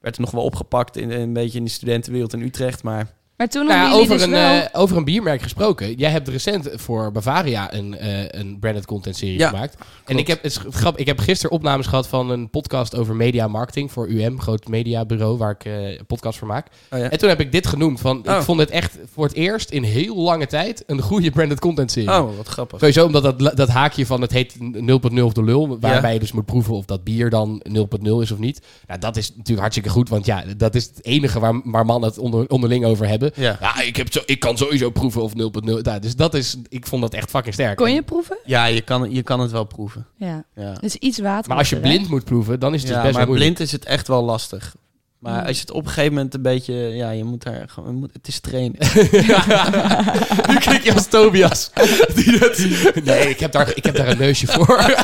Speaker 3: Werd het nog wel opgepakt in een beetje in de studentenwereld in Utrecht. Maar
Speaker 2: Maar toen
Speaker 1: Nou ja,
Speaker 2: hadden jullie
Speaker 1: over,
Speaker 2: dus
Speaker 1: een,
Speaker 2: wel...
Speaker 1: eh, over een biermerk gesproken. Jij hebt recent voor Bavaria een, eh, een branded content serie
Speaker 3: Ja,
Speaker 1: gemaakt. En ik heb, het is grap, ik heb gisteren opnames gehad van een podcast over media marketing voor UM, groot mediabureau, waar ik eh, een podcast voor maak.
Speaker 3: Oh ja.
Speaker 1: En toen heb ik dit genoemd. Van,
Speaker 3: Oh.
Speaker 1: Ik vond het echt voor het eerst in heel lange tijd een goede branded content serie.
Speaker 3: Oh, wat grappig.
Speaker 1: Sowieso omdat dat, dat haakje van het heet 0.0 of de lul, waarbij
Speaker 3: Ja.
Speaker 1: je dus moet proeven of dat bier dan 0.0 is of niet. Nou, dat is natuurlijk hartstikke goed, want ja, dat is het enige waar, waar mannen het onder, onderling over hebben.
Speaker 3: Ja.
Speaker 1: Ja, ik, heb zo, ik kan sowieso proeven of 0.0. Nou, dus dat is, ik vond dat echt fucking sterk.
Speaker 2: Kon je proeven?
Speaker 3: Ja, je kan, je kan het wel proeven.
Speaker 2: Ja.
Speaker 3: Ja.
Speaker 2: Dus iets water.
Speaker 1: Maar als je blind moet proeven, dan is het dus
Speaker 3: Ja,
Speaker 1: best
Speaker 3: maar
Speaker 1: wel moeilijk.
Speaker 3: blind is het echt wel lastig. Maar
Speaker 2: Mm.
Speaker 3: als je het op een gegeven moment een beetje... Ja, je moet daar gewoon... moet- Het is trainen.
Speaker 1: nu klik je als Tobias. Die dat- nee, ik heb, daar, ik heb daar een neusje voor.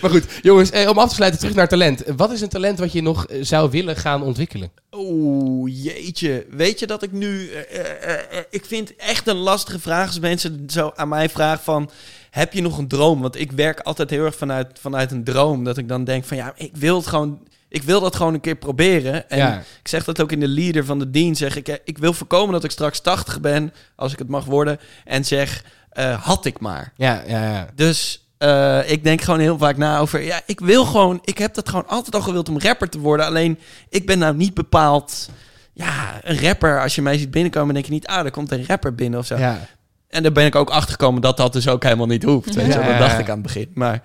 Speaker 1: Maar goed, jongens, eh, om af te sluiten, terug naar talent. Wat is een talent wat je nog eh, zou willen gaan ontwikkelen?
Speaker 3: Oeh, Oh, jeetje. Weet je dat ik nu... eh, eh, eh, eh, ik vind echt een lastige vraag als mensen zo aan mij vragen van... Heb je nog een droom? Want ik werk altijd heel erg vanuit, vanuit een droom. Dat ik dan denk van ja, ik wil het gewoon... Ik wil dat gewoon een keer proberen. En
Speaker 1: Ja.
Speaker 3: ik zeg dat ook in de leader van de dien. Zeg ik, eh, ik wil voorkomen dat ik straks 80 ben, als ik het mag worden. En zeg, eh, had ik maar.
Speaker 1: Ja, ja, ja.
Speaker 3: Dus eh, ik denk gewoon heel vaak na over. Ja, ik wil gewoon. Ik heb dat gewoon altijd al gewild om rapper te worden. Alleen ik ben nou niet bepaald. Ja, een rapper. Als je mij ziet binnenkomen, denk je niet. Ah, er komt een rapper binnen of zo.
Speaker 1: ja.
Speaker 3: En daar ben ik ook achter gekomen dat dat dus ook helemaal niet hoeft. Weet je? wel.
Speaker 1: Ja.
Speaker 3: Dat dacht ik aan het begin. Maar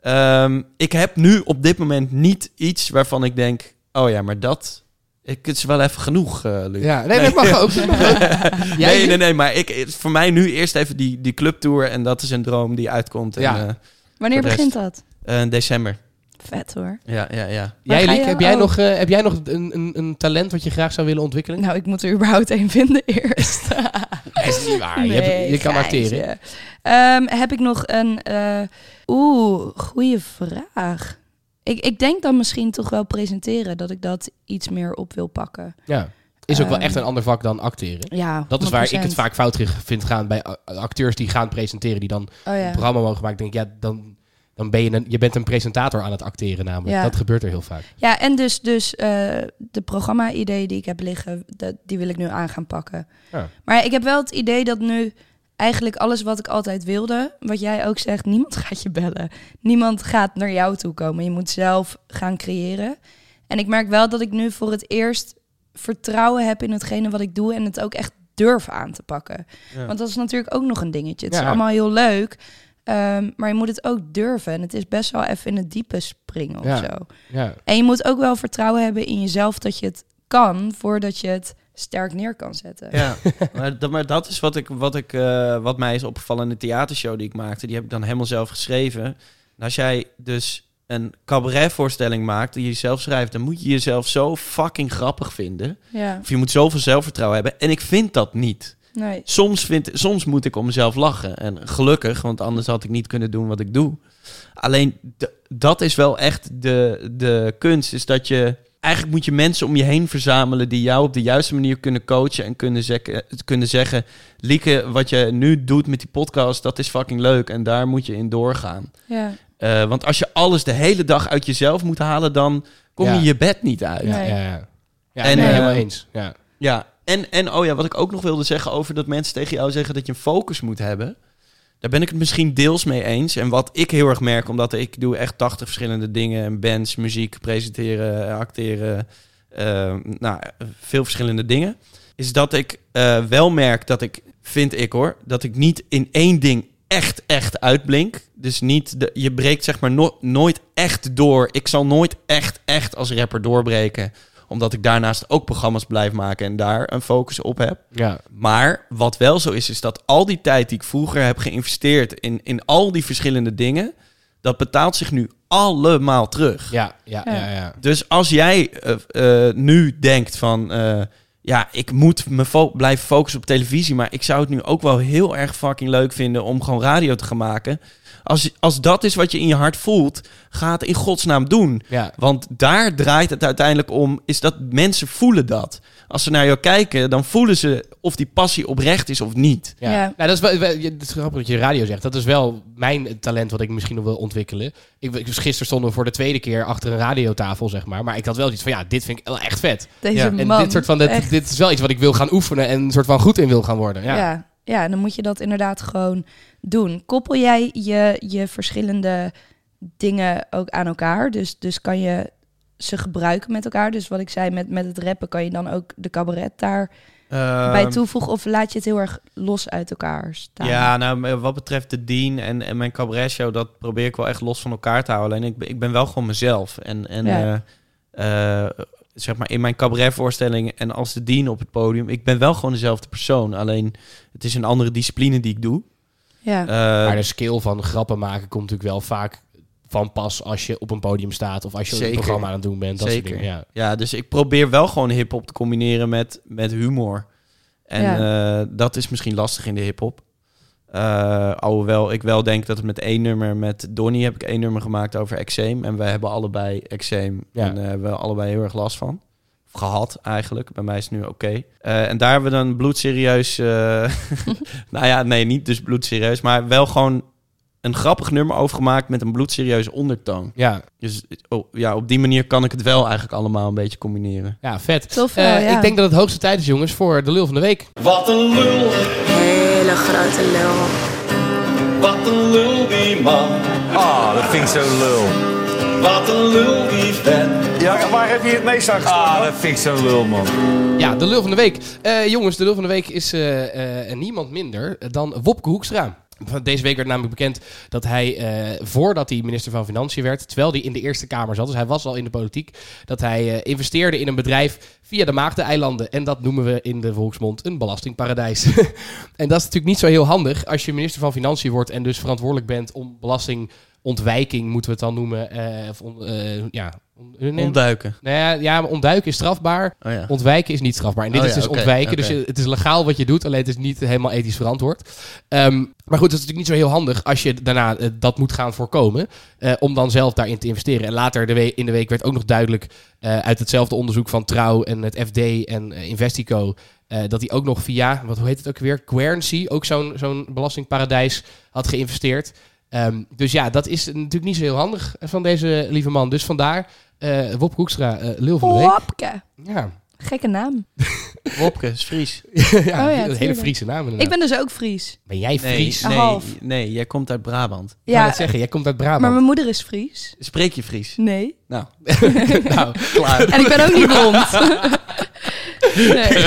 Speaker 3: ehm, ik heb nu op dit moment niet iets waarvan ik denk. Oh ja, maar dat. Ik, het is wel even genoeg, eh Luc.
Speaker 1: Ja, nee, dat mag ook. dat mag ook. Jij,
Speaker 3: Nee, nee, nee, maar ik, het- voor mij nu eerst even die, die clubtour. En dat is een droom die uitkomt.
Speaker 1: Ja.
Speaker 3: En, eh,
Speaker 2: Wanneer
Speaker 3: Voor de
Speaker 2: begint dat?
Speaker 3: eh, december.
Speaker 2: Vet hoor.
Speaker 3: Ja, ja, ja.
Speaker 1: jij
Speaker 2: Waar ga
Speaker 1: Liek,
Speaker 2: je-
Speaker 1: heb, jij
Speaker 2: oh.
Speaker 1: nog, eh, heb jij nog een, een, een talent wat je graag zou willen ontwikkelen?
Speaker 2: Nou, ik moet er überhaupt één vinden eerst.
Speaker 1: Dat is niet waar. Ah, je, hebt- je kan
Speaker 2: Nee,
Speaker 1: acteren.
Speaker 2: geintje. Ehm, heb ik nog een... eh, Oeh, goede vraag. Ik, ik denk dan misschien toch wel presenteren. Dat ik dat iets meer op wil pakken.
Speaker 1: Ja. Is ook wel
Speaker 2: Ehm,
Speaker 1: echt een ander vak dan acteren.
Speaker 2: Ja,
Speaker 1: Dat is waar ik
Speaker 2: 100%.
Speaker 1: het vaak fout ge- vind gaan bij a- acteurs die gaan presenteren, die dan
Speaker 2: Oh
Speaker 1: een
Speaker 2: ja.
Speaker 1: programma mogen maken. Denk ik, ja, dan, dan ben je een, je bent een presentator aan het acteren namelijk.
Speaker 2: Ja.
Speaker 1: Dat gebeurt er heel vaak.
Speaker 2: ja, en dus, dus eh, de programma-idee die ik heb liggen, dat, die wil ik nu aan gaan pakken.
Speaker 1: Ja.
Speaker 2: Maar ik heb wel het idee dat nu eigenlijk alles wat ik altijd wilde, wat jij ook zegt, niemand gaat je bellen. Niemand gaat naar jou toe komen. Je moet zelf gaan creëren. En ik merk wel dat ik nu voor het eerst vertrouwen heb in hetgene wat ik doe en het ook echt durf aan te pakken.
Speaker 3: Ja.
Speaker 2: Want dat is natuurlijk ook nog een dingetje. Het
Speaker 1: Ja.
Speaker 2: is allemaal heel leuk, ehm, maar je moet het ook durven. En het is best wel even in het diepe springen of
Speaker 1: Ja.
Speaker 2: zo.
Speaker 1: Ja.
Speaker 2: En je moet ook wel vertrouwen hebben in jezelf dat je het kan voordat je het sterk neer kan zetten.
Speaker 3: Ja, maar, dat- maar dat is wat, ik, wat, ik, eh, wat mij is opgevallen in de theatershow die ik maakte. Die heb ik dan helemaal zelf geschreven. En als jij dus een cabaretvoorstelling maakt die je zelf schrijft... dan moet je jezelf zo fucking grappig vinden.
Speaker 2: Ja.
Speaker 3: Of je moet zoveel zelfvertrouwen hebben. En ik vind dat niet.
Speaker 2: Nee.
Speaker 3: Soms, vind, soms moet ik om mezelf lachen. En gelukkig, want anders had ik niet kunnen doen wat ik doe. Alleen d- dat is wel echt de, de kunst. Is dat je. Eigenlijk moet je mensen om je heen verzamelen die jou op de juiste manier kunnen coachen en kunnen, zekken, kunnen zeggen: Lieke, wat je nu doet met die podcast, dat is fucking leuk en daar moet je in doorgaan.
Speaker 2: Ja.
Speaker 3: Eh, want als je alles de hele dag uit jezelf moet halen, dan kom
Speaker 1: Ja.
Speaker 3: je je bed niet uit.
Speaker 1: Ja,
Speaker 2: Nee.
Speaker 1: ja, ja. Ja,
Speaker 3: En,
Speaker 1: nee,
Speaker 3: eh,
Speaker 1: helemaal eens. Ja.
Speaker 3: Ja, en, en oh ja, wat ik ook nog wilde zeggen over dat mensen tegen jou zeggen dat je een focus moet hebben. Daar ben ik het misschien deels mee eens. En wat ik heel erg merk, omdat ik doe echt 80 verschillende dingen. En bands, muziek, presenteren, acteren. eh, nou, veel verschillende dingen. Is dat ik eh, wel merk dat ik, vind ik hoor, dat ik niet in één ding echt, echt uitblink. Dus niet, de, je breekt zeg maar no- nooit echt door. Ik zal nooit echt, echt als rapper doorbreken omdat ik daarnaast ook programma's blijf maken en daar een focus op heb.
Speaker 1: Ja.
Speaker 3: Maar wat wel zo is, is dat al die tijd die ik vroeger heb geïnvesteerd in, in al die verschillende dingen, dat betaalt zich nu allemaal terug.
Speaker 1: Ja, ja, ja,
Speaker 2: Ja.
Speaker 1: ja, ja.
Speaker 3: Dus als jij eh, eh, nu denkt van, eh, ja, ik moet me fo- blijven focussen op televisie, maar ik zou het nu ook wel heel erg fucking leuk vinden om gewoon radio te gaan maken. Als, als dat is wat je in je hart voelt, ga het in godsnaam doen. Want daar draait het uiteindelijk om, is dat mensen voelen dat. Als ze naar jou kijken, dan voelen ze of die passie oprecht is of niet.
Speaker 1: Ja.
Speaker 2: Ja.
Speaker 1: Nou, dat is wel, wel- je- het is grappig dat je radio zegt. Dat is wel mijn talent wat ik misschien nog wil ontwikkelen. Ik, ik, gisteren stonden we voor de tweede keer achter een radiotafel, zeg maar. Maar ik had wel iets van, ja, dit vind ik wel echt vet.
Speaker 2: Deze
Speaker 3: Ja,
Speaker 1: En
Speaker 2: man.
Speaker 1: dit, soort van, dit,
Speaker 2: echt.
Speaker 1: dit is wel iets wat ik wil gaan oefenen en een soort van goed in wil gaan worden. Ja,
Speaker 2: ja.
Speaker 1: ja.
Speaker 2: Ja, dan moet je dat inderdaad gewoon doen. Koppel jij je, je verschillende dingen ook aan elkaar? Dus, dus kan je ze gebruiken met elkaar? Dus wat ik zei met, met het rappen, kan je dan ook de cabaret daarbij
Speaker 1: Ehm,
Speaker 2: bij toevoegen? Of laat je het heel erg los uit elkaar staan?
Speaker 3: Ja, nou, m- wat betreft de Dean en, en mijn cabaret show, dat probeer ik wel echt los van elkaar te houden. Alleen ik, ben- ik ben wel gewoon mezelf. En, en
Speaker 2: Ja.
Speaker 3: eh, eh, zeg maar in mijn cabaretvoorstelling en als de Dean op het podium, ik ben wel gewoon dezelfde persoon. Alleen het is een andere discipline die ik doe.
Speaker 2: ja.
Speaker 3: Eh,
Speaker 1: Maar de skill van grappen maken komt natuurlijk wel vaak van pas als je op een podium staat of als je
Speaker 3: Zeker.
Speaker 1: een programma aan het doen bent. Dat
Speaker 3: Zeker.
Speaker 1: Soort dingen. Ja.
Speaker 3: Ja, dus ik probeer wel gewoon hip-hop te combineren met, met humor. En eh, dat is misschien lastig in de hip-hop. Eh, alhoewel ik wel denk dat het met één nummer, met Donny heb ik één nummer gemaakt over eczeem. En wij hebben allebei eczeem.
Speaker 1: Ja.
Speaker 3: En eh, hebben we allebei heel erg last van. Of gehad eigenlijk. Bij mij is het nu oké. Eh, en daar hebben we dan bloedserieus. eh, nou ja, nee, niet dus bloedserieus. Maar wel gewoon een grappig nummer over gemaakt met een bloedserieus ondertoon.
Speaker 1: Ja.
Speaker 3: Dus oh, ja, op die manier kan ik het wel eigenlijk allemaal een beetje combineren.
Speaker 1: ja, vet.
Speaker 2: Tof
Speaker 1: Eh,
Speaker 2: wel, ja.
Speaker 1: Ik denk dat het hoogste tijd is, jongens, voor de lul van de week.
Speaker 4: Wat een lul,
Speaker 6: Hele grote lul.
Speaker 4: wat een lul die man.
Speaker 7: Ah, dat vind ik zo lul.
Speaker 4: Wat een lul die vent.
Speaker 7: Ja, waar heb je het meest aan Ah, dat vind ik zo lul, man.
Speaker 1: Ja, de lul van de week. Eh, jongens, de lul van de week is eh, eh, niemand minder dan Wopke Hoekstra. Deze week werd namelijk bekend dat hij, eh, voordat hij minister van Financiën werd, terwijl hij in de Eerste Kamer zat, dus hij was al in de politiek, dat hij eh, investeerde in een bedrijf via de Maagdeneilanden. En dat noemen we in de volksmond een belastingparadijs. en dat is natuurlijk niet zo heel handig als je minister van Financiën wordt en dus verantwoordelijk bent om belastingontwijking, moeten we het dan noemen. eh, of on- eh, ja, on- nee,
Speaker 3: Ontduiken.
Speaker 1: nou ja, ja, maar ontduiken is strafbaar.
Speaker 3: Oh ja.
Speaker 1: Ontwijken is niet strafbaar. En dit
Speaker 3: Oh
Speaker 1: is
Speaker 3: ja,
Speaker 1: dus
Speaker 3: oké,
Speaker 1: ontwijken. Dus
Speaker 3: oké.
Speaker 1: je- het is legaal wat je doet, alleen het is niet helemaal ethisch verantwoord. Ehm, maar goed, dat is natuurlijk niet zo heel handig als je daarna eh, dat moet gaan voorkomen. eh, om dan zelf daarin te investeren. En later de we- in de week werd ook nog duidelijk eh, uit hetzelfde onderzoek van Trouw en het FD en eh, Investico. eh, dat hij ook nog via, wat hoe heet het ook weer? Guernsey, ook zo'n zo'n belastingparadijs, had geïnvesteerd. Ehm, dus ja, dat is natuurlijk niet zo heel handig van deze lieve man. Dus vandaar eh Wop Hoekstra, eh, Lil van de Week.
Speaker 2: Hopke.
Speaker 1: Ja.
Speaker 2: Gekke naam.
Speaker 3: Wopke is Fries.
Speaker 1: ja,
Speaker 2: Oh ja,
Speaker 1: een hele
Speaker 2: tuurlijk.
Speaker 1: Friese naam inderdaad.
Speaker 2: Ik ben dus ook Fries.
Speaker 1: Ben jij Fries?
Speaker 2: Een
Speaker 3: Nee,
Speaker 2: half.
Speaker 3: nee, jij komt uit Brabant.
Speaker 1: Ik wou
Speaker 2: Ja,
Speaker 1: net zeggen, jij komt uit
Speaker 2: maar
Speaker 1: Brabant.
Speaker 2: mijn moeder is Fries.
Speaker 3: Spreek je Fries?
Speaker 2: Nee.
Speaker 3: Nou,
Speaker 1: nou,
Speaker 3: klaar.
Speaker 2: En ik ben ook niet blond. Nee.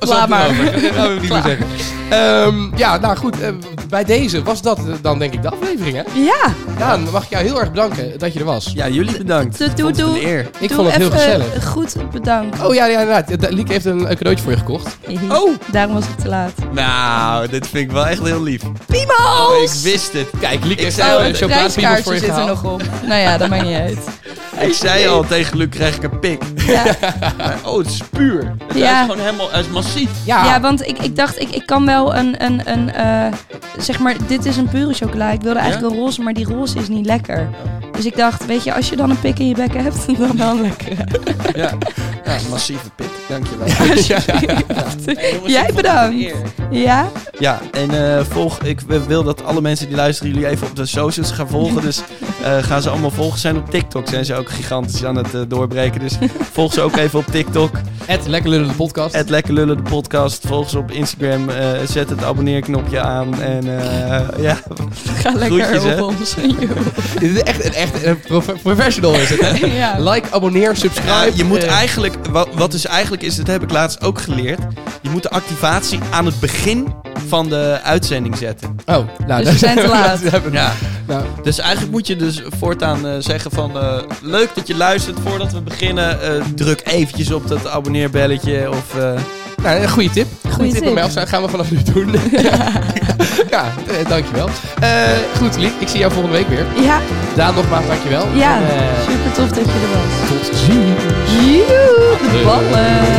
Speaker 2: Laat maar.
Speaker 1: Dat wil ik niet meer zeggen. Ehm, ja, nou goed. eh, bij deze was dat eh, dan denk ik de aflevering, hè?
Speaker 2: Ja,
Speaker 1: Daan, mag ik jou heel erg bedanken dat je er was.
Speaker 3: Ja, jullie bedankt.
Speaker 2: doe, doe,
Speaker 3: Vond het een
Speaker 2: doe.
Speaker 3: eer.
Speaker 1: Ik
Speaker 2: Doe
Speaker 1: vond het heel
Speaker 2: even
Speaker 1: gezellig.
Speaker 2: Goed bedankt.
Speaker 1: Oh ja, ja inderdaad. Eh, Lieke heeft een eh, cadeautje voor je gekocht.
Speaker 3: Oh.
Speaker 2: Daarom was ik te laat.
Speaker 3: Nou, dit vind ik wel echt heel lief.
Speaker 2: Oh, Piemels!
Speaker 3: Oh, Ik wist het.
Speaker 1: Kijk, Lieke heeft
Speaker 3: Ik zou
Speaker 1: nou een
Speaker 3: het
Speaker 1: chocoladepiemel voor je
Speaker 2: zit er
Speaker 1: gehaald.
Speaker 2: nog op. Nou ja, dat maakt niet uit.
Speaker 3: Ik zei al, tegen Luc krijg ik een pik.
Speaker 2: Ja,
Speaker 3: Maar, oh, het is puur.
Speaker 4: Hij is
Speaker 2: ja.
Speaker 4: gewoon helemaal hij is massief.
Speaker 1: Ja,
Speaker 2: ja want ik, ik dacht, ik, ik kan wel een, een, een eh, zeg maar, dit is een pure chocola. Ik wilde eigenlijk een roze, maar die roze is niet lekker. Dus ik dacht, weet je, als je dan een pik in je bek hebt, dan wel een lekkere.
Speaker 3: Ja, ja massieve pik. Dankjewel.
Speaker 2: Jij bedankt. Ja?
Speaker 3: Ja, en eh, volg, ik wil dat alle mensen die luisteren jullie even op de socials gaan volgen. Dus eh, gaan ze allemaal volgen. Zijn op TikTok zijn ze ook gigantisch aan het eh, doorbreken. Dus volg ze ook even op TikTok.
Speaker 1: het Lekker Lullen de podcast.
Speaker 3: Het Lekker Lullen de podcast. Volg ze op Instagram. eh, zet het abonneerknopje aan. En eh, ja,
Speaker 2: Ga lekker
Speaker 3: Groetjes, hè?
Speaker 2: op ons.
Speaker 1: Dit is echt, een- echt een prof- professional is het, hè?
Speaker 2: ja.
Speaker 1: Like, abonneer,
Speaker 3: Ja,
Speaker 1: subscribe.
Speaker 3: je moet
Speaker 1: Eh,
Speaker 3: eigenlijk, wa- wat dus eigenlijk is, dat heb ik laatst ook geleerd. Je moet de activatie aan het begin van de uitzending zetten.
Speaker 1: Oh, nou,
Speaker 2: Dus we zijn te laat.
Speaker 1: dat hebben we.
Speaker 3: Ja.
Speaker 1: Nou,
Speaker 3: Dus eigenlijk moet je dus voortaan eh, zeggen van, eh, leuk dat je luistert voordat we beginnen. eh, druk eventjes op dat abonneerbelletje of... eh,
Speaker 1: nou, een goede tip. Goede tip
Speaker 2: tip.
Speaker 1: om mij af te zijn. Gaan we vanaf nu doen. ja, eh, dankjewel. Eh, goed, Liek, ik zie jou volgende week weer.
Speaker 2: Ja,
Speaker 1: Daan, nogmaals, dankjewel.
Speaker 2: ja.
Speaker 1: En, eh,
Speaker 2: Super tof dat je er was.
Speaker 1: tot ziens.
Speaker 2: Joe, de ballen.